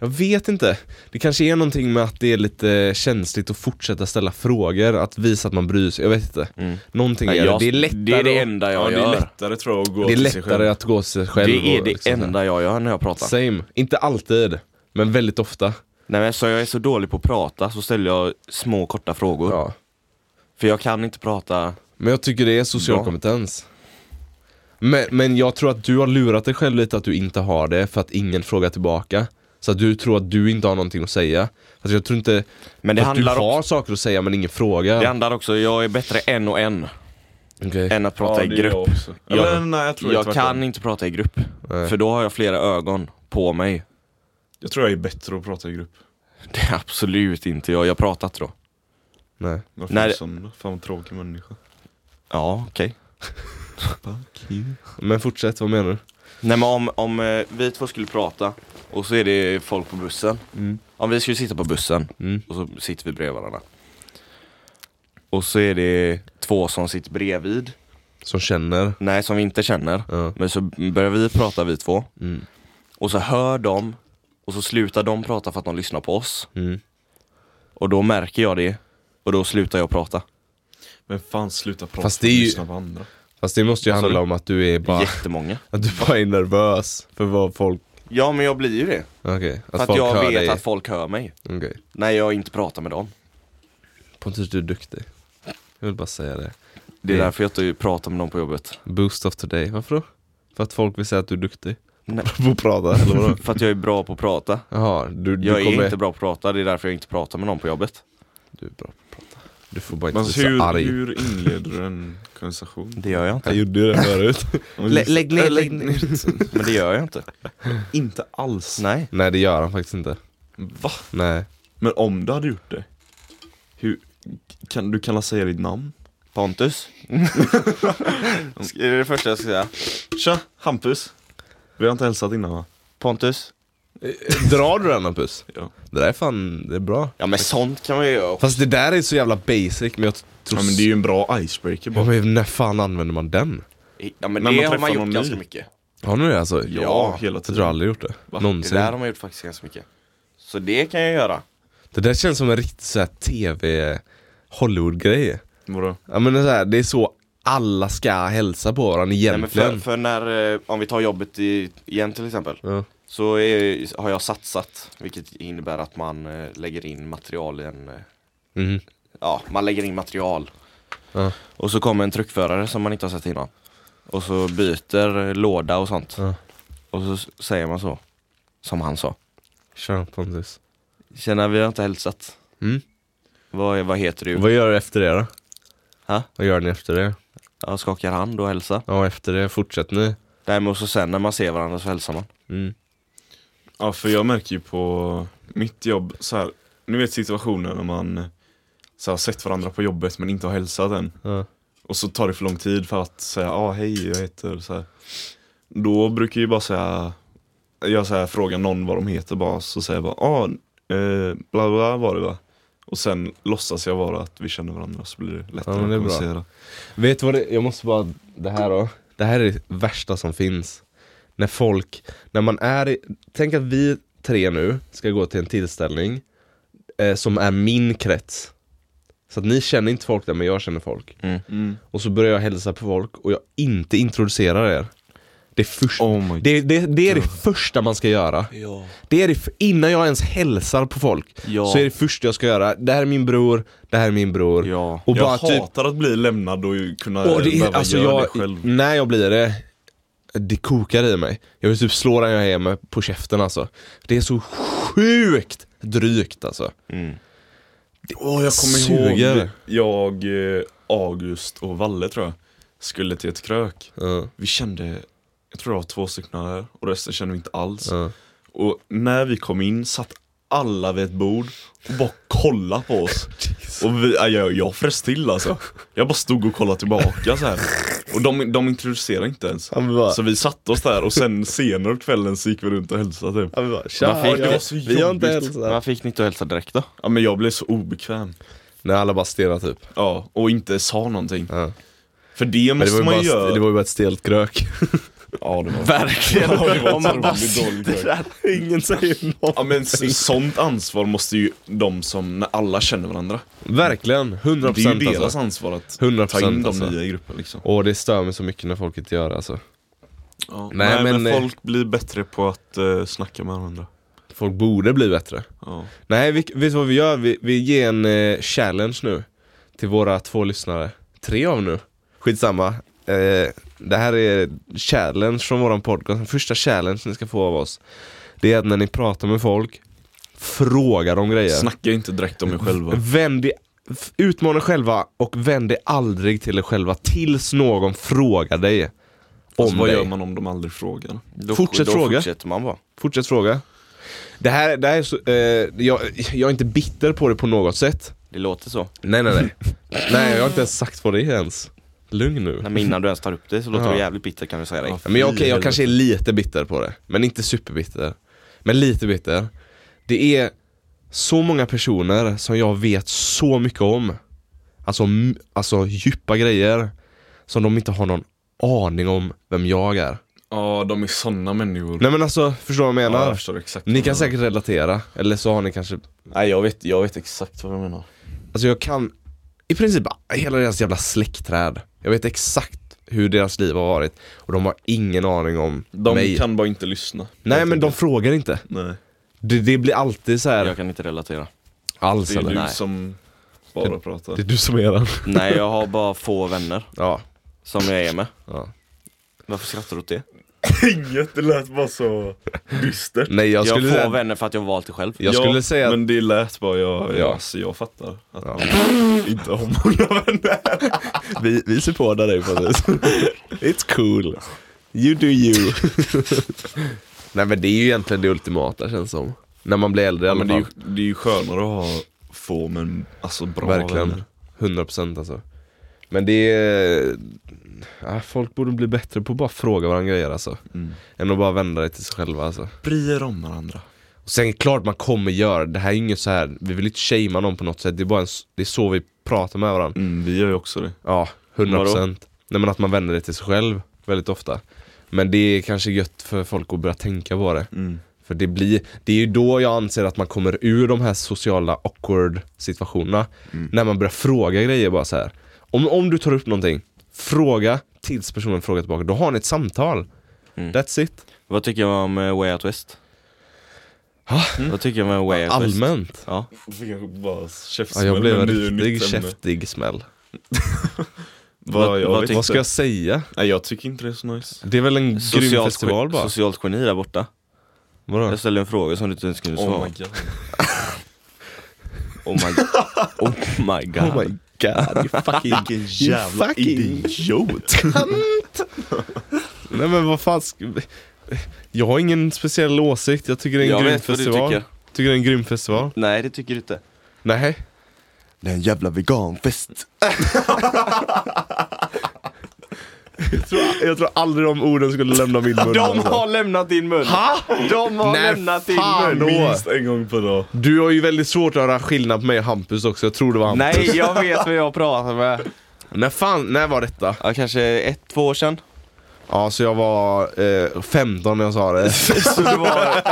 Speaker 1: jag vet inte. Det kanske är någonting med att det är lite känsligt att fortsätta ställa frågor, att visa att man bryr sig. Jag vet inte.
Speaker 2: Mm.
Speaker 1: Någonting
Speaker 2: Nej,
Speaker 1: är
Speaker 2: jag-
Speaker 1: det. Det är lättare,
Speaker 2: det, är det
Speaker 1: att,
Speaker 2: enda jag
Speaker 3: Ja, det
Speaker 2: gör.
Speaker 3: är lättare tror jag att gå
Speaker 1: det är
Speaker 3: till sig
Speaker 1: lättare
Speaker 3: själv.
Speaker 1: att gå sig själv.
Speaker 2: det är
Speaker 1: och
Speaker 2: det
Speaker 1: liksom så här.
Speaker 2: enda jag gör när jag pratar.
Speaker 1: Same. Inte alltid, men väldigt ofta.
Speaker 2: Nej men så jag är så dålig på att prata så ställer jag små korta frågor.
Speaker 1: Ja.
Speaker 2: För jag kan inte prata.
Speaker 1: Men jag tycker det är social
Speaker 2: Bra.
Speaker 1: kompetens. Men, men jag tror att du har lurat dig själv lite att du inte har det för att ingen frågar tillbaka. Så att du tror att du inte har någonting att säga. Alltså jag tror inte
Speaker 2: Men det
Speaker 1: att du
Speaker 2: handlar,
Speaker 1: har
Speaker 2: också,
Speaker 1: saker att säga men ingen fråga.
Speaker 2: det handlar också, jag är bättre en och en
Speaker 1: Okej.
Speaker 2: än att prata i grupp.
Speaker 3: också.
Speaker 2: Jag-
Speaker 3: Eller, nej, jag tror
Speaker 2: Jag,
Speaker 3: jag,
Speaker 2: kan inte prata i grupp,
Speaker 1: Nej.
Speaker 2: för då har jag flera ögon på mig.
Speaker 3: jag tror jag är bättre att prata i grupp.
Speaker 2: Det är absolut inte jag, jag har pratat då.
Speaker 1: Nej.
Speaker 3: Varför
Speaker 2: Nej,
Speaker 3: är du
Speaker 2: det-
Speaker 3: sån då? Fan vad tråkig människa.
Speaker 2: Ja, okej.
Speaker 1: Men fortsätt, vad menar du?
Speaker 2: Nej men om, om eh, vi två skulle prata och så är det folk på bussen.
Speaker 1: Mm.
Speaker 2: Om vi skulle sitta på bussen
Speaker 1: Mm.
Speaker 2: och så sitter vi bredvid varandra. Och så är det två som sitter bredvid,
Speaker 1: Som känner.
Speaker 2: nej som vi inte känner.
Speaker 1: Ja.
Speaker 2: Men så börjar vi prata vi två
Speaker 1: Mm.
Speaker 2: och så hör de och så slutar de prata för att de lyssnar på oss.
Speaker 1: Mm.
Speaker 2: Och då märker jag det och då slutar jag prata.
Speaker 3: Men fan sluta prata
Speaker 1: Fast det är
Speaker 3: och
Speaker 1: ju-
Speaker 3: lyssna på andra.
Speaker 1: Fast det måste ju
Speaker 2: Vad sa
Speaker 1: handla
Speaker 2: du?
Speaker 1: om att du är bara,
Speaker 2: Jättemånga.
Speaker 1: att du bara är nervös för vad folk...
Speaker 2: Ja men jag blir ju det.
Speaker 1: Okej,
Speaker 2: För
Speaker 1: att
Speaker 2: att
Speaker 1: folk
Speaker 2: jag
Speaker 1: hör
Speaker 2: vet
Speaker 1: dig.
Speaker 2: att folk hör mig.
Speaker 1: Okej.
Speaker 2: När jag inte pratar med dem.
Speaker 1: Pontus, du är duktig. Jag vill bara säga det.
Speaker 2: Det är
Speaker 1: Mm.
Speaker 2: därför jag inte pratar med dem på jobbet.
Speaker 1: Boost of today, varför då? För att folk vill säga att du är duktig?
Speaker 2: Nej.
Speaker 1: På att prata, eller vadå?
Speaker 2: För att jag är bra på att prata.
Speaker 1: Jaha, du, du
Speaker 2: Jag
Speaker 1: kommer...
Speaker 2: är inte bra på att prata, det är därför jag inte pratar med någon på jobbet.
Speaker 1: Du är bra på att prata. Du får bara inte
Speaker 3: Men
Speaker 1: bli så
Speaker 3: Alltså, hur,
Speaker 1: arg.
Speaker 3: hur inleder du en konversation?
Speaker 2: Det gör jag inte.
Speaker 1: Jag gjorde ju det förut.
Speaker 3: Lä,
Speaker 1: lägg ner, lägg
Speaker 2: Men det gör jag inte.
Speaker 3: Inte alls.
Speaker 2: Nej.
Speaker 1: Nej, det gör han faktiskt inte.
Speaker 3: Va?
Speaker 1: Nej.
Speaker 3: Men om du hade gjort det? Hur, kan du kalla säga ditt namn?
Speaker 2: Pontus? Ska- är det det första jag ska säga?
Speaker 3: Tja, Hampus. Vi har inte hälsat innan va?
Speaker 2: Pontus?
Speaker 1: Drar du den Hampus?
Speaker 3: Ja.
Speaker 1: Det där är fan, det är bra.
Speaker 2: Ja men sånt kan man ju göra.
Speaker 1: Fast det där är så jävla basic, men jag tror...
Speaker 3: Ja men det är ju en bra icebreaker
Speaker 1: Ja,
Speaker 3: bara.
Speaker 1: men när fan använder man den?
Speaker 2: Ja men
Speaker 3: När
Speaker 2: det har
Speaker 3: man
Speaker 2: man
Speaker 3: träffar
Speaker 2: gjort
Speaker 3: någon
Speaker 2: ganska
Speaker 3: ny.
Speaker 2: mycket.
Speaker 1: Har ni det alltså?
Speaker 3: Ja,
Speaker 1: Jag
Speaker 3: hela
Speaker 1: tror jag
Speaker 3: tiden.
Speaker 1: aldrig gjort det.
Speaker 3: Va?
Speaker 2: Det
Speaker 1: Någonsin.
Speaker 2: där har man gjort faktiskt ganska mycket. Så det kan jag göra.
Speaker 1: Det där känns som en riktig så här tv Hollywood-grej.
Speaker 3: Vadå?
Speaker 1: Ja men det är, så här, det är så alla ska hälsa på varandra
Speaker 2: Nej, men för,
Speaker 1: egentligen.
Speaker 2: för när, eh, om vi tar jobbet i, igen till exempel.
Speaker 1: Ja.
Speaker 2: Så är, har jag satsat, vilket innebär att man eh, lägger in material i en eh,
Speaker 1: Mhm.
Speaker 2: ja, man lägger in material.
Speaker 1: Ja.
Speaker 2: Och så kommer en truckförare som man inte har sett innan. Och så byter eh, låda och sånt.
Speaker 1: Ja.
Speaker 2: Och så s- säger man så. Som han sa.
Speaker 1: Kör Pontus.
Speaker 2: Tjena, vi har inte hälsat.
Speaker 1: Mm.
Speaker 2: Vad, är- vad heter du?
Speaker 1: Vad gör du efter det då?
Speaker 2: Ha?
Speaker 1: Vad gör ni efter det?
Speaker 2: Jag skakar hand och hälsar.
Speaker 1: Ja efter det, fortsätt ni.
Speaker 2: Däremot så sen när man ser varandra så hälsar man.
Speaker 1: Mm.
Speaker 3: Ja för jag märker ju på mitt jobb så här. Ni vet situationen när man så här, har sett varandra på jobbet men inte har hälsat än.
Speaker 1: Ja.
Speaker 3: Och så tar det för lång tid för att säga ja ah, hej jag heter så här. Då brukar jag ju bara säga Jag så här, frågar någon vad de heter bara så säger jag bara ah, eh, bla bla var det va Och sen låtsas jag vara att vi känner varandra så blir det lättare
Speaker 1: Ja, men det är
Speaker 3: att
Speaker 1: bra.
Speaker 3: kommunicera
Speaker 1: Vet du vad det, jag måste bara, det här då. Det här är det värsta som finns. När folk, när man är, i- tänk att vi tre nu ska gå till en tillställning eh, som är min krets. Så att ni känner inte folk där men jag känner folk.
Speaker 3: Mm.
Speaker 1: Och så börjar jag hälsa på folk och jag inte introducerar er. Det är, först,
Speaker 3: Oh my
Speaker 1: det, det, det, är det första man ska göra.
Speaker 2: Ja.
Speaker 1: Det är det, f- innan jag ens hälsar på folk
Speaker 2: Ja.
Speaker 1: så är det första jag ska göra. Det här är min bror, det här är min bror.
Speaker 2: Ja.
Speaker 1: Och bara
Speaker 3: Jag
Speaker 1: typ,
Speaker 3: hatar att bli lämnad och ju kunna
Speaker 1: och det, är-
Speaker 3: behöva
Speaker 1: alltså
Speaker 3: göra
Speaker 1: jag,
Speaker 3: det själv
Speaker 1: när jag blir det, det kokar i mig. Jag vill typ slå den jag är med på käften alltså. Det är så sjukt drygt alltså.
Speaker 2: Mm.
Speaker 3: Åh jag kommer
Speaker 1: suger.
Speaker 3: ihåg Jag, eh, August och Valle tror jag Skulle till ett krök
Speaker 1: Ja,
Speaker 3: Vi kände, jag tror det var två stycken här och resten kände vi inte alls
Speaker 1: ja.
Speaker 3: Och när vi kom in satt alla vid ett bord och bara kollade på oss. och vi, ja, jag, jag frös till alltså. Jag bara stod och kollade tillbaka så här. Och de, de introducerade inte ens.
Speaker 1: Han bara,
Speaker 3: Så vi satte oss där och sen senare på kvällen så gick vi runt och hälsade typ.
Speaker 1: han bara tja,
Speaker 2: Varför-
Speaker 1: jag,
Speaker 2: det var
Speaker 3: så
Speaker 1: vi har inte
Speaker 3: jobbigt.
Speaker 1: hälsat.
Speaker 2: Man fick ni inte hälsa direkt då?
Speaker 3: Ja men jag blev så obekväm.
Speaker 1: När alla bara stirrar typ.
Speaker 3: Ja, och inte sa någonting.
Speaker 1: Ja.
Speaker 3: För det
Speaker 1: Men det var,
Speaker 3: måste
Speaker 1: ju
Speaker 3: man ju
Speaker 1: bara,
Speaker 3: göra.
Speaker 1: det var ju bara ett stelt krök.
Speaker 3: Ja det var
Speaker 2: Verkligen!
Speaker 3: Ja, det var
Speaker 2: Om man bara
Speaker 3: otroligt dålig
Speaker 2: sitter där.
Speaker 1: Ingen säger något.
Speaker 3: Ja men så, sånt ansvar måste ju de som, när alla känner varandra.
Speaker 1: Verkligen, 100%
Speaker 3: Det är ju deras
Speaker 1: alltså.
Speaker 3: ansvar att
Speaker 1: 100%
Speaker 3: ta in de
Speaker 1: alltså.
Speaker 3: nya i gruppen liksom.
Speaker 1: Och det stör mig så mycket när folk inte gör det alltså.
Speaker 3: Ja.
Speaker 1: Nej,
Speaker 3: Nej,
Speaker 1: men,
Speaker 3: men,
Speaker 1: eh,
Speaker 3: folk blir bättre på att uh, snacka med varandra.
Speaker 1: Folk borde bli bättre.
Speaker 3: Ja.
Speaker 1: Nej, vi, vet du vad vi gör? Vi, vi ger en eh, challenge nu till våra två lyssnare. Tre av nu. Skitsamma. Eh, det här är challenge från våran podcast. Den första challenge ni ska få av oss. Det är att när ni pratar med folk, fråga dem grejer.
Speaker 3: Snacka inte direkt om er själva.
Speaker 1: Vänd i, f- utmana er själva och vänd dig aldrig till er själva tills någon frågar dig. Om
Speaker 3: Alltså, vad
Speaker 1: dig.
Speaker 3: gör man om de aldrig frågar?
Speaker 2: Då,
Speaker 1: Fortsätt
Speaker 2: då
Speaker 1: fråga.
Speaker 2: fortsätter man bara.
Speaker 1: Fortsätt fråga. Det här, det här är så, eh, jag, jag är inte bitter på det på något sätt.
Speaker 2: Det låter så.
Speaker 1: Nej nej nej. nej jag har inte ens sagt vad det är ens. Lugn nu.
Speaker 2: Nej, men innan du ens tar upp det så låter
Speaker 1: Ja.
Speaker 2: du jävligt bitter kan vi säga dig.
Speaker 3: Ja.
Speaker 1: Ja, Men jag,
Speaker 3: Fy
Speaker 1: okej, jag
Speaker 3: helvete.
Speaker 1: kanske är lite bitter på det, men inte superbitter. Men lite bitter. Det är så många personer som jag vet så mycket om. Alltså, m- alltså djupa grejer som de inte har någon aning om vem jag är.
Speaker 3: Ja, de är såna människor.
Speaker 1: Nej men alltså, förstår du vad jag
Speaker 3: Ja,
Speaker 1: menar?
Speaker 3: jag förstår exakt. vad
Speaker 1: Ni
Speaker 3: du
Speaker 1: kan
Speaker 3: menar.
Speaker 1: säkert relatera, eller så har ni kanske
Speaker 3: Nej, jag vet, jag vet exakt vad du menar.
Speaker 1: Alltså jag kan i princip hela deras jävla släktträd. Jag vet exakt hur deras liv har varit och de har ingen aning om
Speaker 3: De
Speaker 1: mig.
Speaker 3: kan bara inte lyssna.
Speaker 1: Nej
Speaker 3: Helt
Speaker 1: men de
Speaker 3: enkelt.
Speaker 1: frågar inte.
Speaker 3: Nej,
Speaker 1: Det, det blir alltid så här
Speaker 2: Jag kan inte relatera.
Speaker 1: alls
Speaker 3: det är
Speaker 1: eller?
Speaker 3: du
Speaker 2: Nej.
Speaker 3: som bara pratar.
Speaker 1: du som är den.
Speaker 2: Nej, jag har bara få vänner
Speaker 1: Ja.
Speaker 2: som jag är med.
Speaker 1: ja.
Speaker 2: Varför skrattar du åt det?
Speaker 3: Inget, det lät bara så dystert.
Speaker 1: Nej jag
Speaker 2: Jag,
Speaker 1: skulle
Speaker 2: har få
Speaker 1: säga,
Speaker 2: vänner för att jag valt det själv.
Speaker 1: jag skulle säga att
Speaker 3: Men det lät bara, jag,
Speaker 1: Ja.
Speaker 3: ja. alltså, jag fattar att
Speaker 1: Ja.
Speaker 3: man inte har många vänner.
Speaker 1: vi, vi supportar dig precis. It's cool. You do you. Nej men det är ju egentligen det ultimata känns som. När man blir äldre i
Speaker 3: Ja,
Speaker 1: alla
Speaker 3: men det, är
Speaker 1: fall.
Speaker 3: ju, det är ju skönare att ha få men alltså bra
Speaker 1: Verkligen.
Speaker 3: vänner.
Speaker 1: 100% alltså. Men det är... Ja, folk borde bli bättre på att bara fråga varandra grejer alltså.
Speaker 3: Mm.
Speaker 1: Än att bara vända det till sig själva alltså.
Speaker 3: Bry er om varandra.
Speaker 1: Och sen är det klart man kommer göra det. Det här är inget så här. vi vill inte shamea någon på något sätt. Det är bara en, s- det är så vi pratar med varandra.
Speaker 3: Mm, vi gör ju också det.
Speaker 1: Ja, 100% Nej men att man vänder det till sig själv väldigt ofta. Men det är kanske gött för folk att börja tänka på det.
Speaker 3: Mm.
Speaker 1: För det blir, det är ju då jag anser att man kommer ur de här sociala awkward situationerna.
Speaker 3: Mm.
Speaker 1: När man börjar fråga grejer bara så här. Om, om du tar upp någonting, fråga tills personen frågar tillbaka. Då har ni ett samtal.
Speaker 2: Mm.
Speaker 1: That's it.
Speaker 2: Vad tycker jag om eh, Way Out West?
Speaker 1: Ha?
Speaker 2: Vad tycker jag om eh, Way Out West?
Speaker 1: Allmänt.
Speaker 2: Ja.
Speaker 3: Jag fick kanske bara
Speaker 1: Ja,
Speaker 3: käftsmäll.
Speaker 1: jag blev
Speaker 3: men
Speaker 1: en
Speaker 3: det är ju
Speaker 1: riktig
Speaker 3: nytt ämne.
Speaker 1: käftig smäll.
Speaker 3: Vad, jag
Speaker 2: vad
Speaker 3: vet
Speaker 2: tyckte-
Speaker 1: Vad
Speaker 3: inte.
Speaker 1: ska jag säga?
Speaker 3: Nej, jag tycker inte det är så nice.
Speaker 1: Det är väl en grym
Speaker 2: Socialt,
Speaker 1: festival bara?
Speaker 2: socialt geni där borta.
Speaker 1: Vadå?
Speaker 2: Jag ställde en fråga som du inte ens kunde svara
Speaker 3: Oh my
Speaker 2: på.
Speaker 3: god.
Speaker 2: Oh my Oh my god.
Speaker 1: Oh my god, you fucking,
Speaker 3: Vilken
Speaker 1: you fucking
Speaker 3: idiot.
Speaker 1: Nej men vad fan ska... Jag har ingen speciell åsikt, jag tycker det är en
Speaker 2: Jag
Speaker 1: grym
Speaker 2: vet vad du
Speaker 1: festival.
Speaker 2: tycker.
Speaker 1: tycker det är en grym festival?
Speaker 2: Nej det tycker du inte.
Speaker 1: Nej.
Speaker 2: Det är en jävla veganfest.
Speaker 1: Jag tror aldrig de orden skulle lämna min mun. alltså.
Speaker 2: De har lämnat din mun!
Speaker 1: Ha?
Speaker 2: De har
Speaker 1: Nej,
Speaker 2: lämnat din
Speaker 1: fan.
Speaker 2: mun!
Speaker 3: Minst en gång per dag.
Speaker 1: Du har ju väldigt svårt att höra skillnad på mig och Hampus också, jag tror det var Hampus.
Speaker 2: Nej jag vet vad jag pratar med.
Speaker 1: När fan, när var detta?
Speaker 2: Ja, kanske ett, två år sedan.
Speaker 1: Ja, så jag var eh, 15 när jag sa det.
Speaker 2: Så du var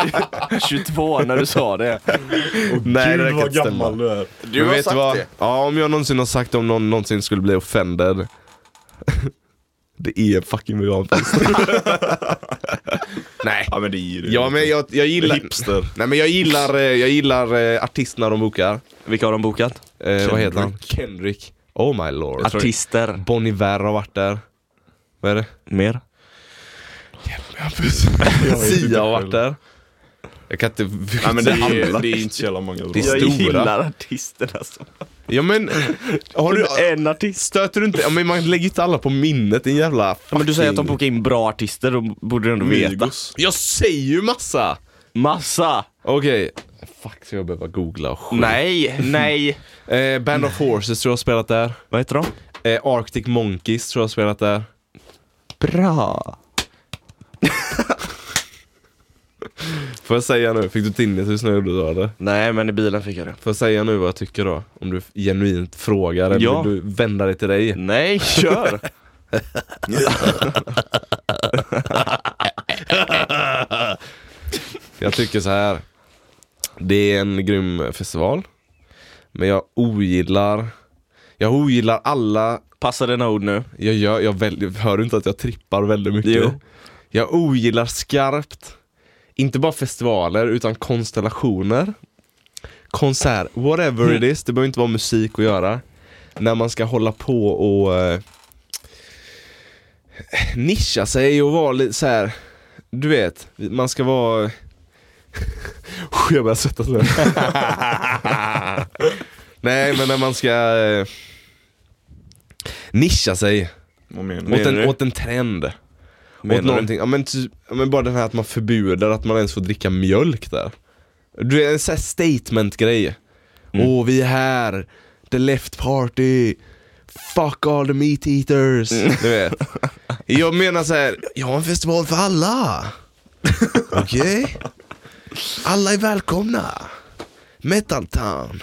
Speaker 2: 22 när du sa det.
Speaker 1: Nej,
Speaker 3: Gud
Speaker 1: räcker
Speaker 3: vad
Speaker 1: inte stämma.
Speaker 3: gammal du är.
Speaker 2: Du
Speaker 1: Men vet du vad? Ja, om jag någonsin har sagt om någon någonsin skulle bli offended. det är fucking veganfest. Nej.
Speaker 3: Ja men det är ju det.
Speaker 1: Ja men jag, jag gillar...
Speaker 3: Hipster.
Speaker 1: Nej men jag gillar, eh, jag gillar eh, artisterna de bokar.
Speaker 2: Vilka har de bokat?
Speaker 1: Eh, vad heter han? Kendrick. Oh my lord.
Speaker 2: Artister.
Speaker 1: Bon Iver har varit där. Vad är det?
Speaker 2: Mer?
Speaker 1: Sia har varit där. Jag kan inte...
Speaker 3: Nej men det är,
Speaker 1: alla.
Speaker 3: ju- det är inte så jävla många bra.
Speaker 1: Det är-
Speaker 2: Jag
Speaker 1: Stora.
Speaker 2: gillar artisterna som...
Speaker 1: Ja men... Har du,
Speaker 2: En artist.
Speaker 1: stöter du inte... Ja, men man lägger ju inte alla på minnet, din jävla fucking...
Speaker 2: Ja, men du säger att de bokar in bra artister, då borde du ändå veta.
Speaker 3: Migos.
Speaker 1: Jag säger ju massa!
Speaker 2: Massa!
Speaker 1: Okej. Fuck, ska jag behöva googla och skit?
Speaker 2: Nej, nej.
Speaker 1: Eh, Band of Horses tror jag har spelat där.
Speaker 2: Vad heter de?
Speaker 1: Eh, Arctic Monkeys tror jag har spelat där.
Speaker 2: Bra.
Speaker 1: Får jag säga nu? Fick du tinnitus när du gjorde det eller?
Speaker 2: Nej, men i bilen fick jag det.
Speaker 1: Får jag säga nu vad jag tycker då? Om du genuint frågar eller
Speaker 2: Ja.
Speaker 1: vill du vända dig till dig?
Speaker 2: Nej, kör!
Speaker 1: Jag tycker så här. Det är en grym festival. Men jag ogillar jag ogillar alla,
Speaker 2: Passa dina ord nu.
Speaker 1: jag gör, jag väl, hör du inte att jag trippar väldigt mycket?
Speaker 2: Jo.
Speaker 1: Jag ogillar skarpt, inte bara festivaler utan konstellationer, konsert, whatever it is, det behöver inte vara musik att göra. När man ska hålla på och eh, nischa sig och vara lite så här. du vet, man ska vara Jag börjar svettas nu. Nej men när man ska eh, nischa sig
Speaker 3: Vad menar
Speaker 1: åt
Speaker 3: du?
Speaker 1: en, åt en trend.
Speaker 2: Menar
Speaker 1: åt
Speaker 2: du?
Speaker 1: någonting, ja men, typ, ja men bara den här att man förbjuder att man ens får dricka mjölk där. Du är en sån här statement grej. Åh vi är här, the left party, fuck all the meat eaters. Du vet. Jag menar så här, jag har en festival för alla. Okej? Alla är välkomna. Metal Town.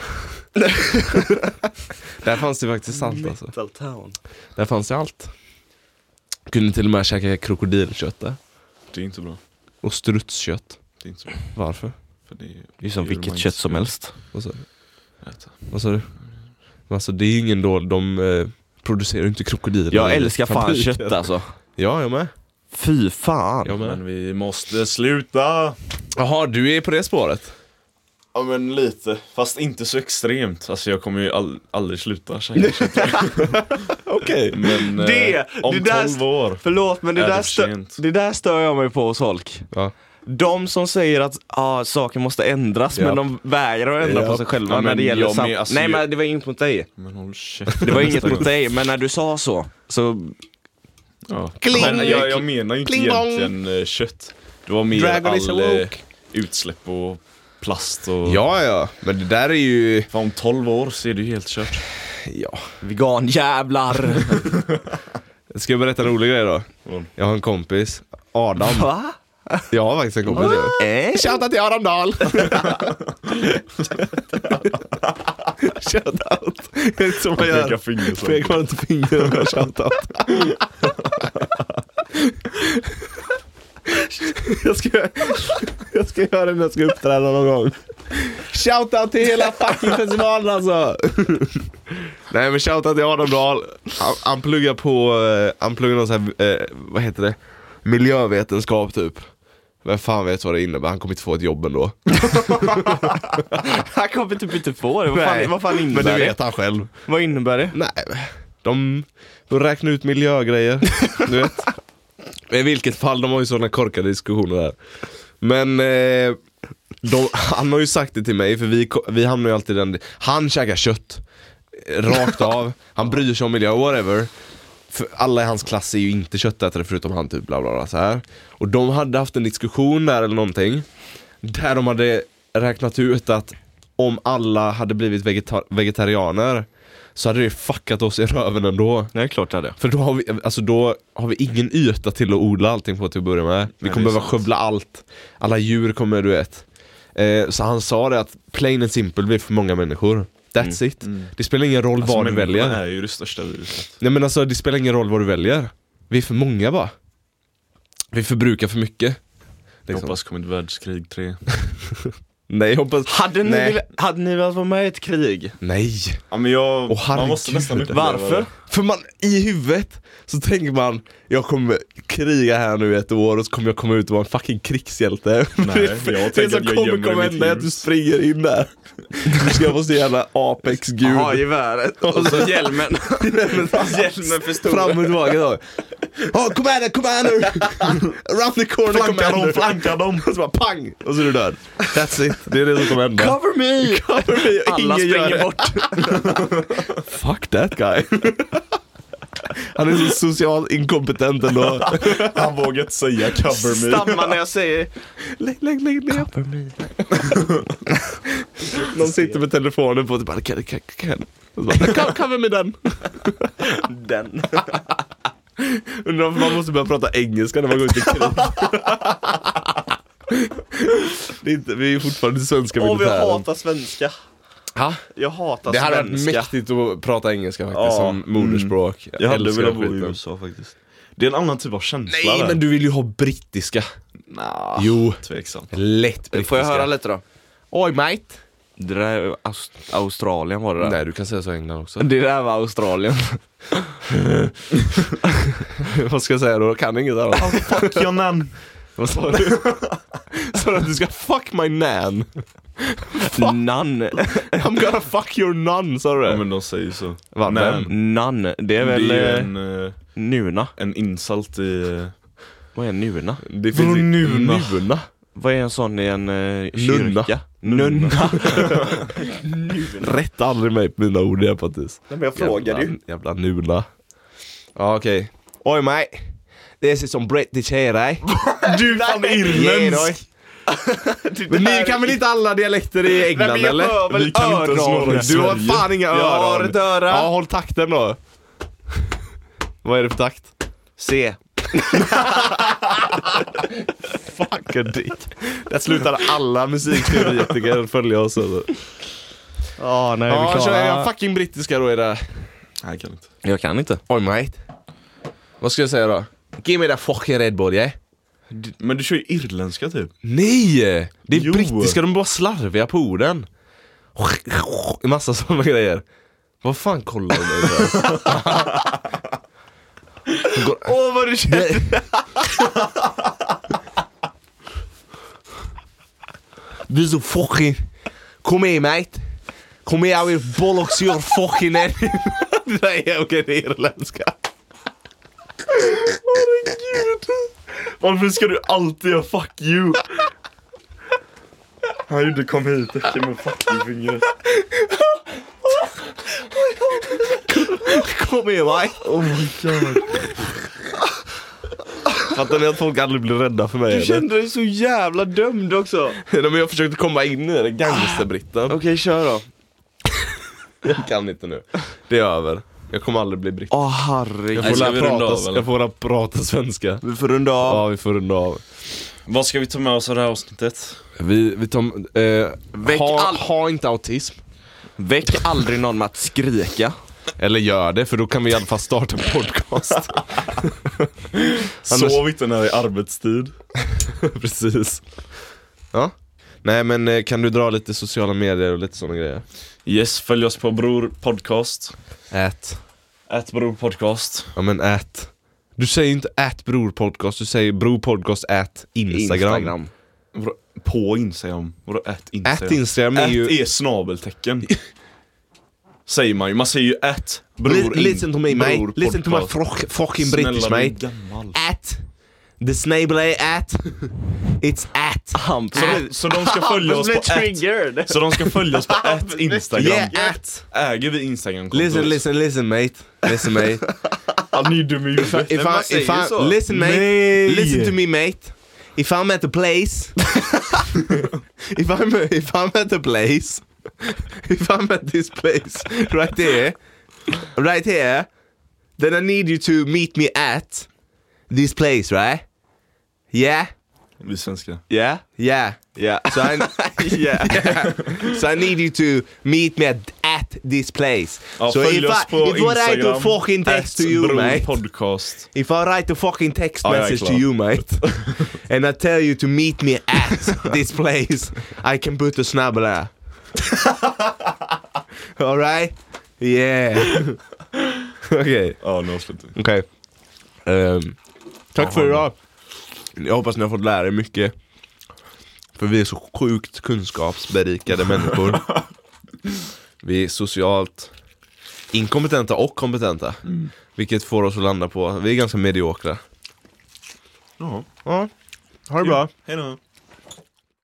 Speaker 1: där fanns det faktiskt allt alltså.
Speaker 4: Metal Town.
Speaker 1: Där fanns det allt. Kunde till och med käka krokodilkött där.
Speaker 3: Det är inte bra.
Speaker 1: Och strutskött.
Speaker 3: Det är inte så bra.
Speaker 1: Varför?
Speaker 3: För det är,
Speaker 2: Det är som
Speaker 3: det man
Speaker 2: vilket
Speaker 3: inte
Speaker 2: kött
Speaker 3: ska
Speaker 2: som helst.
Speaker 1: Vad sa du?
Speaker 3: äta.
Speaker 1: Vad sa du? Men Alltså det är ju ingen dålig, de eh, producerar ju inte krokodiler.
Speaker 2: Jag
Speaker 1: i
Speaker 2: älskar fan
Speaker 1: fabriken.
Speaker 2: kött alltså.
Speaker 1: Ja, jag med.
Speaker 2: Fy fan.
Speaker 1: Jag med.
Speaker 3: Men vi måste sluta!
Speaker 1: Jaha, du är på det spåret?
Speaker 3: Ja men lite, fast inte så extremt. Alltså jag kommer ju all, aldrig sluta käka kött.
Speaker 1: Okej.
Speaker 3: Men eh,
Speaker 2: Det-
Speaker 3: om
Speaker 2: det där-
Speaker 3: 12 år.
Speaker 2: Förlåt men det
Speaker 3: Är
Speaker 2: där,
Speaker 3: det för
Speaker 2: stö-
Speaker 3: sent?
Speaker 2: det där stör jag mig på hos folk.
Speaker 1: Ja.
Speaker 2: De som säger att ah, saker måste ändras
Speaker 1: Ja.
Speaker 2: men de vägrar att ändra
Speaker 1: Ja.
Speaker 2: på sig själva
Speaker 3: Ja,
Speaker 2: när
Speaker 3: men
Speaker 2: det gäller
Speaker 3: jag
Speaker 2: sam-
Speaker 3: men- alltså,
Speaker 2: Nej
Speaker 3: jag-
Speaker 2: men det var inget mot dig.
Speaker 3: Men håll käften.
Speaker 2: Det var inget mot dig men när du sa så, så
Speaker 3: Ja.
Speaker 1: Kling!
Speaker 3: Men jag, jag menar ju inte
Speaker 1: Kling bong!
Speaker 3: egentligen eh, kött. Det var mer
Speaker 1: Dragon is
Speaker 3: all eh,
Speaker 1: awoke.
Speaker 3: utsläpp och plast och...
Speaker 1: Ja, ja. Men det där är ju...
Speaker 3: Fan, om 12 år så är det ju helt kört.
Speaker 1: Ja.
Speaker 2: vegan jävlar.
Speaker 1: Ska jag berätta en rolig grej då?
Speaker 3: Mm.
Speaker 1: Jag har en kompis. Adam.
Speaker 2: Va?
Speaker 1: Jag har faktiskt en kompis. ja.
Speaker 2: Eh?
Speaker 1: Shoutout till Adam Dahl! Shoutout! Det är inte som man
Speaker 3: Peka
Speaker 1: gör.
Speaker 3: finger så.
Speaker 1: Pekar man inte fingret och gör shoutout? Jag ska, jag ska göra det när jag ska uppträda någon gång. Shoutout till hela fucking festivalen alltså! Nej men shoutout till Adam Dahl. Han, han pluggar på, eh, han pluggar någon sån här, eh, vad heter det? Miljövetenskap typ. Vem fan vet vad det innebär, han kommer inte få ett jobb ändå.
Speaker 2: Han kommer typ inte få det. Vad
Speaker 1: Nej,
Speaker 2: fan, vad fan innebär
Speaker 1: Men det
Speaker 2: det?
Speaker 1: vet han själv.
Speaker 2: Vad innebär det?
Speaker 1: Nej, de de räknar ut miljögrejer. du vet. I vilket fall, de har ju sådana korkade diskussioner där. Men eh, de, han har ju sagt det till mig, för vi, ko- vi hamnar ju alltid i den... Han käkar kött. eh, Rakt av. Han bryr sig om miljö, whatever. För alla i hans klass är ju inte köttätare förutom han typ bla bla bla så här. Och de hade haft en diskussion där eller någonting. Där de hade räknat ut att om alla hade blivit vegeta- vegetarianer så hade det fuckat oss i röven ändå.
Speaker 2: Nej, klart det hade.
Speaker 1: För då har vi, alltså då har vi ingen yta till att odla allting på till att börja med. Vi
Speaker 3: det
Speaker 1: kommer
Speaker 3: är
Speaker 1: behöva
Speaker 3: sant.
Speaker 1: skövla allt. Alla djur kommer, du vet. Eh, så han sa det att plain and simple blir för många människor. That's it. Det spelar ingen roll vad du
Speaker 3: människan
Speaker 1: väljer.
Speaker 3: Alltså, är ju det största viruset.
Speaker 1: Nej men alltså det spelar ingen roll vad du väljer. Vi är för många bara. Vi förbrukar för mycket.
Speaker 3: Jag
Speaker 1: Liksom.
Speaker 3: hoppas det kommer ett världskrig 3.
Speaker 1: Nej, jag hoppas...
Speaker 2: Hade ni,
Speaker 1: Nej.
Speaker 2: vel- hade ni velat vara med i ett krig?
Speaker 1: Nej!
Speaker 3: Ja men jag...
Speaker 1: Åh,
Speaker 3: man måste
Speaker 1: herregud.
Speaker 3: nästan uppleva
Speaker 2: Varför?
Speaker 3: det.
Speaker 1: För man, i huvudet så tänker man Jag kommer kriga här nu i ett år och så kommer jag komma ut och vara en fucking krigshjälte.
Speaker 3: Nej, jag tänker
Speaker 1: det som
Speaker 3: att jag
Speaker 1: kommer
Speaker 3: gömmer
Speaker 1: komma
Speaker 3: i mitt
Speaker 1: hända är att du
Speaker 3: hus.
Speaker 1: springer in där. Du ska vara så jävla Apex-gud.
Speaker 2: Jaha, geväret och så hjälmen. hjälmen för stor.
Speaker 1: Fram och tillbaka då. Oh, commander, commander! Around the corner,
Speaker 3: Flanka
Speaker 1: commander!
Speaker 3: dem, flanka dem!
Speaker 1: Och så bara pang! Och så är du död. That's it, det är det som kommer hända.
Speaker 2: Cover me! Alla
Speaker 1: Ingen gör
Speaker 2: springer
Speaker 1: det.
Speaker 2: bort.
Speaker 1: Fuck that guy. Han är så socialt inkompetent ändå.
Speaker 3: Han vågar inte säga cover me.
Speaker 2: Stammar när jag säger
Speaker 1: Lägg, lägg, lägg ner. Någon sitter med telefonen på och typ bara kan, kan, kan. Och så bara, "Kom, Cover me den.
Speaker 2: den.
Speaker 1: Undrar om man måste börja prata engelska när man går ut i krig. Det är inte, vi är fortfarande svenska
Speaker 2: Åh, vi
Speaker 1: militären.
Speaker 2: hatar svenska.
Speaker 1: Ha?
Speaker 2: Jag hatar
Speaker 1: Det hade varit
Speaker 2: svenska.
Speaker 1: mäktigt att prata engelska faktiskt
Speaker 2: Ja.
Speaker 1: som moderspråk.
Speaker 3: Mm. Jag hade
Speaker 1: älskar
Speaker 3: velat bo i
Speaker 1: skiten.
Speaker 3: USA faktiskt. Det är en annan typ av känsla
Speaker 1: Nej
Speaker 3: där.
Speaker 1: men du vill ju ha brittiska.
Speaker 3: Nah,
Speaker 1: Jo.
Speaker 3: Tveksam.
Speaker 1: Lätt brittiska.
Speaker 2: Får jag höra lite då?
Speaker 1: Oj mate.
Speaker 2: Det där är Aust- Australien var det där.
Speaker 1: Nej du kan säga så i England också.
Speaker 2: Det där var Australien.
Speaker 1: Vad ska jag säga då? Kan inget annat.
Speaker 3: Fuck your nan.
Speaker 1: Vad sa du? Sa du att du ska fuck my nan?
Speaker 2: Nan.
Speaker 1: I'm gonna fuck your nun sa du
Speaker 3: Ja
Speaker 1: det?
Speaker 3: men de säger ju så.
Speaker 1: Va,
Speaker 3: Nan.
Speaker 1: vem?
Speaker 2: Nan. Det är
Speaker 3: Det är
Speaker 2: väl
Speaker 3: ju
Speaker 2: eh,
Speaker 3: en, eh,
Speaker 2: nuna.
Speaker 3: en insult i... eh,
Speaker 2: Vad är nuna?
Speaker 1: Det
Speaker 3: Från
Speaker 1: ju-
Speaker 3: Nuna.
Speaker 1: Nuna?
Speaker 2: Vad är en sån i en eh,
Speaker 1: Nunna.
Speaker 2: kyrka? Nunna.
Speaker 1: Rätta aldrig mig på mina ord igen Pattis.
Speaker 4: Nej, men jag frågar ju.
Speaker 1: Jävla, jävla nula. Ja okej. Oj mate. This is some British here eh?
Speaker 3: Du är fan irländsk!
Speaker 1: Men ni kan väl inte alla dialekter i England
Speaker 4: Nej, men jag
Speaker 1: eller?
Speaker 4: hör väl
Speaker 3: Vi kan inte ens
Speaker 1: Öron.
Speaker 3: några i
Speaker 1: Du har
Speaker 3: Sverige.
Speaker 1: fan inga öron.
Speaker 4: Jag har ett öra.
Speaker 1: Ja håll takten då. Vad är det för takt?
Speaker 2: Se.
Speaker 1: Fucking dick. Där slutade alla musikteoretiker följa oss eller?
Speaker 2: Ja, nej,
Speaker 1: Ja, kör jag fucking brittiska då i det här.
Speaker 3: Nej, jag kan inte.
Speaker 2: Jag kan inte.
Speaker 1: Oj mate. Vad ska jag säga då? Give me that fucking Red Bull yeah.
Speaker 3: Men du kör ju irländska typ.
Speaker 1: Nej! Det är
Speaker 3: Jo.
Speaker 1: brittiska, de är bara slarviga på orden. Massa sådana grejer. Vad fan kollar du nu för?
Speaker 4: Åh vad du känner!
Speaker 1: Det- Du är så fucking... Kom igen mate! Kom igen I will bollocks your fucking head! Det där är okej, det är irländska.
Speaker 3: Varför ska du alltid göra 'fuck you'? Han gjorde 'kom hit' efter med 'fuck you'-fingret.
Speaker 1: Kom igen mate!
Speaker 3: Oh my god.
Speaker 1: Fattar ni att folk aldrig blir rädda för mig
Speaker 4: Du
Speaker 1: eller?
Speaker 4: kände dig så jävla dömd också. Okej,
Speaker 1: Nej, men jag försökte komma in i det, gangsterbritten.
Speaker 4: kör då.
Speaker 1: Jag kan inte nu. Det är över. Jag kommer aldrig bli britt.
Speaker 4: Åh
Speaker 1: Jag
Speaker 4: herregud.
Speaker 1: får,
Speaker 2: ska
Speaker 1: lära
Speaker 2: vi runda
Speaker 1: prata,
Speaker 2: av, eller?
Speaker 1: jag får lära prata svenska.
Speaker 4: Vi får runda av.
Speaker 1: Ja, vi får runda av.
Speaker 3: Vad ska vi ta med oss av det här avsnittet?
Speaker 1: Vi, vi tar... Eh,
Speaker 2: Väck
Speaker 1: ha,
Speaker 2: all-
Speaker 1: ha inte autism.
Speaker 2: Väck aldrig någon med att skrika.
Speaker 1: Eller gör det, för då kan vi i alla fall starta en podcast. Annars-
Speaker 3: Sov inte när det är arbetstid.
Speaker 1: Precis. Ja. Nej men eh, kan du dra lite sociala medier och lite sådana grejer?
Speaker 3: Yes, följ oss på Bror Podcast.
Speaker 1: Ät.
Speaker 3: Ät Bror Podcast.
Speaker 1: Ja men ät. Du säger inte ät bror podcast, du säger bror podcast ät Instagram.
Speaker 3: Vadå, På Instagram. Vadå ät Instagram?
Speaker 1: Ät Instagram är
Speaker 3: Ät
Speaker 1: ju...
Speaker 3: är snabeltecken. Säger man ju. Man säger ju ät bror
Speaker 1: Li-
Speaker 3: in-
Speaker 1: listen to me mate,
Speaker 3: bror
Speaker 1: listen to my
Speaker 3: podcast.
Speaker 1: frock- fucking
Speaker 3: Snälla,
Speaker 1: British
Speaker 3: du är
Speaker 1: mate.
Speaker 3: gammal.
Speaker 1: at the snabel är at It's at
Speaker 2: Hampus,
Speaker 3: Så de, så de ska följa oss Ah. på ett.
Speaker 4: triggered.
Speaker 3: Så de ska följa oss på ett Instagram.
Speaker 1: Yeah at
Speaker 3: Äger vi instagram
Speaker 1: Listen listen listen mate Listen mate
Speaker 3: Han är ju dum i huvudet.
Speaker 1: If
Speaker 4: man
Speaker 1: I, if
Speaker 4: säger så.
Speaker 1: I, Listen mate
Speaker 3: Nej.
Speaker 1: Listen to me mate If I'm at a place if, I'm, if I'm at a place If I'm at this place Right there Right here Then I need you to meet me at This place right Yeah
Speaker 3: Vi svenskar.
Speaker 1: Yeah Yeah
Speaker 4: Ja.
Speaker 1: So I,
Speaker 4: Ja.
Speaker 1: So I need you to meet me at, at this place.
Speaker 3: Ja,
Speaker 1: so
Speaker 3: följ
Speaker 1: if
Speaker 3: oss
Speaker 1: I,
Speaker 3: på
Speaker 1: if I write a
Speaker 3: Instagram,
Speaker 1: fucking text to
Speaker 3: Ät
Speaker 1: you
Speaker 3: Bror
Speaker 1: mate,
Speaker 3: Podcast.
Speaker 1: if I write a fucking text
Speaker 3: Ja, jag är
Speaker 1: message to
Speaker 3: klar.
Speaker 1: you mate, and I tell you to meet me at this place, I can put a snabel här. Alright? Yeah. Okej. Okay.
Speaker 3: Ja, nu avslutar vi.
Speaker 1: Okej. Ehm, tack för idag. Jag hoppas ni har fått lära er mycket. För vi är så sjukt kunskapsberikade människor. Vi är socialt inkompetenta och kompetenta. Vilket får oss att landa på att vi är ganska mediokra.
Speaker 3: Ja.
Speaker 1: Ja, ha det bra.
Speaker 3: Hej då.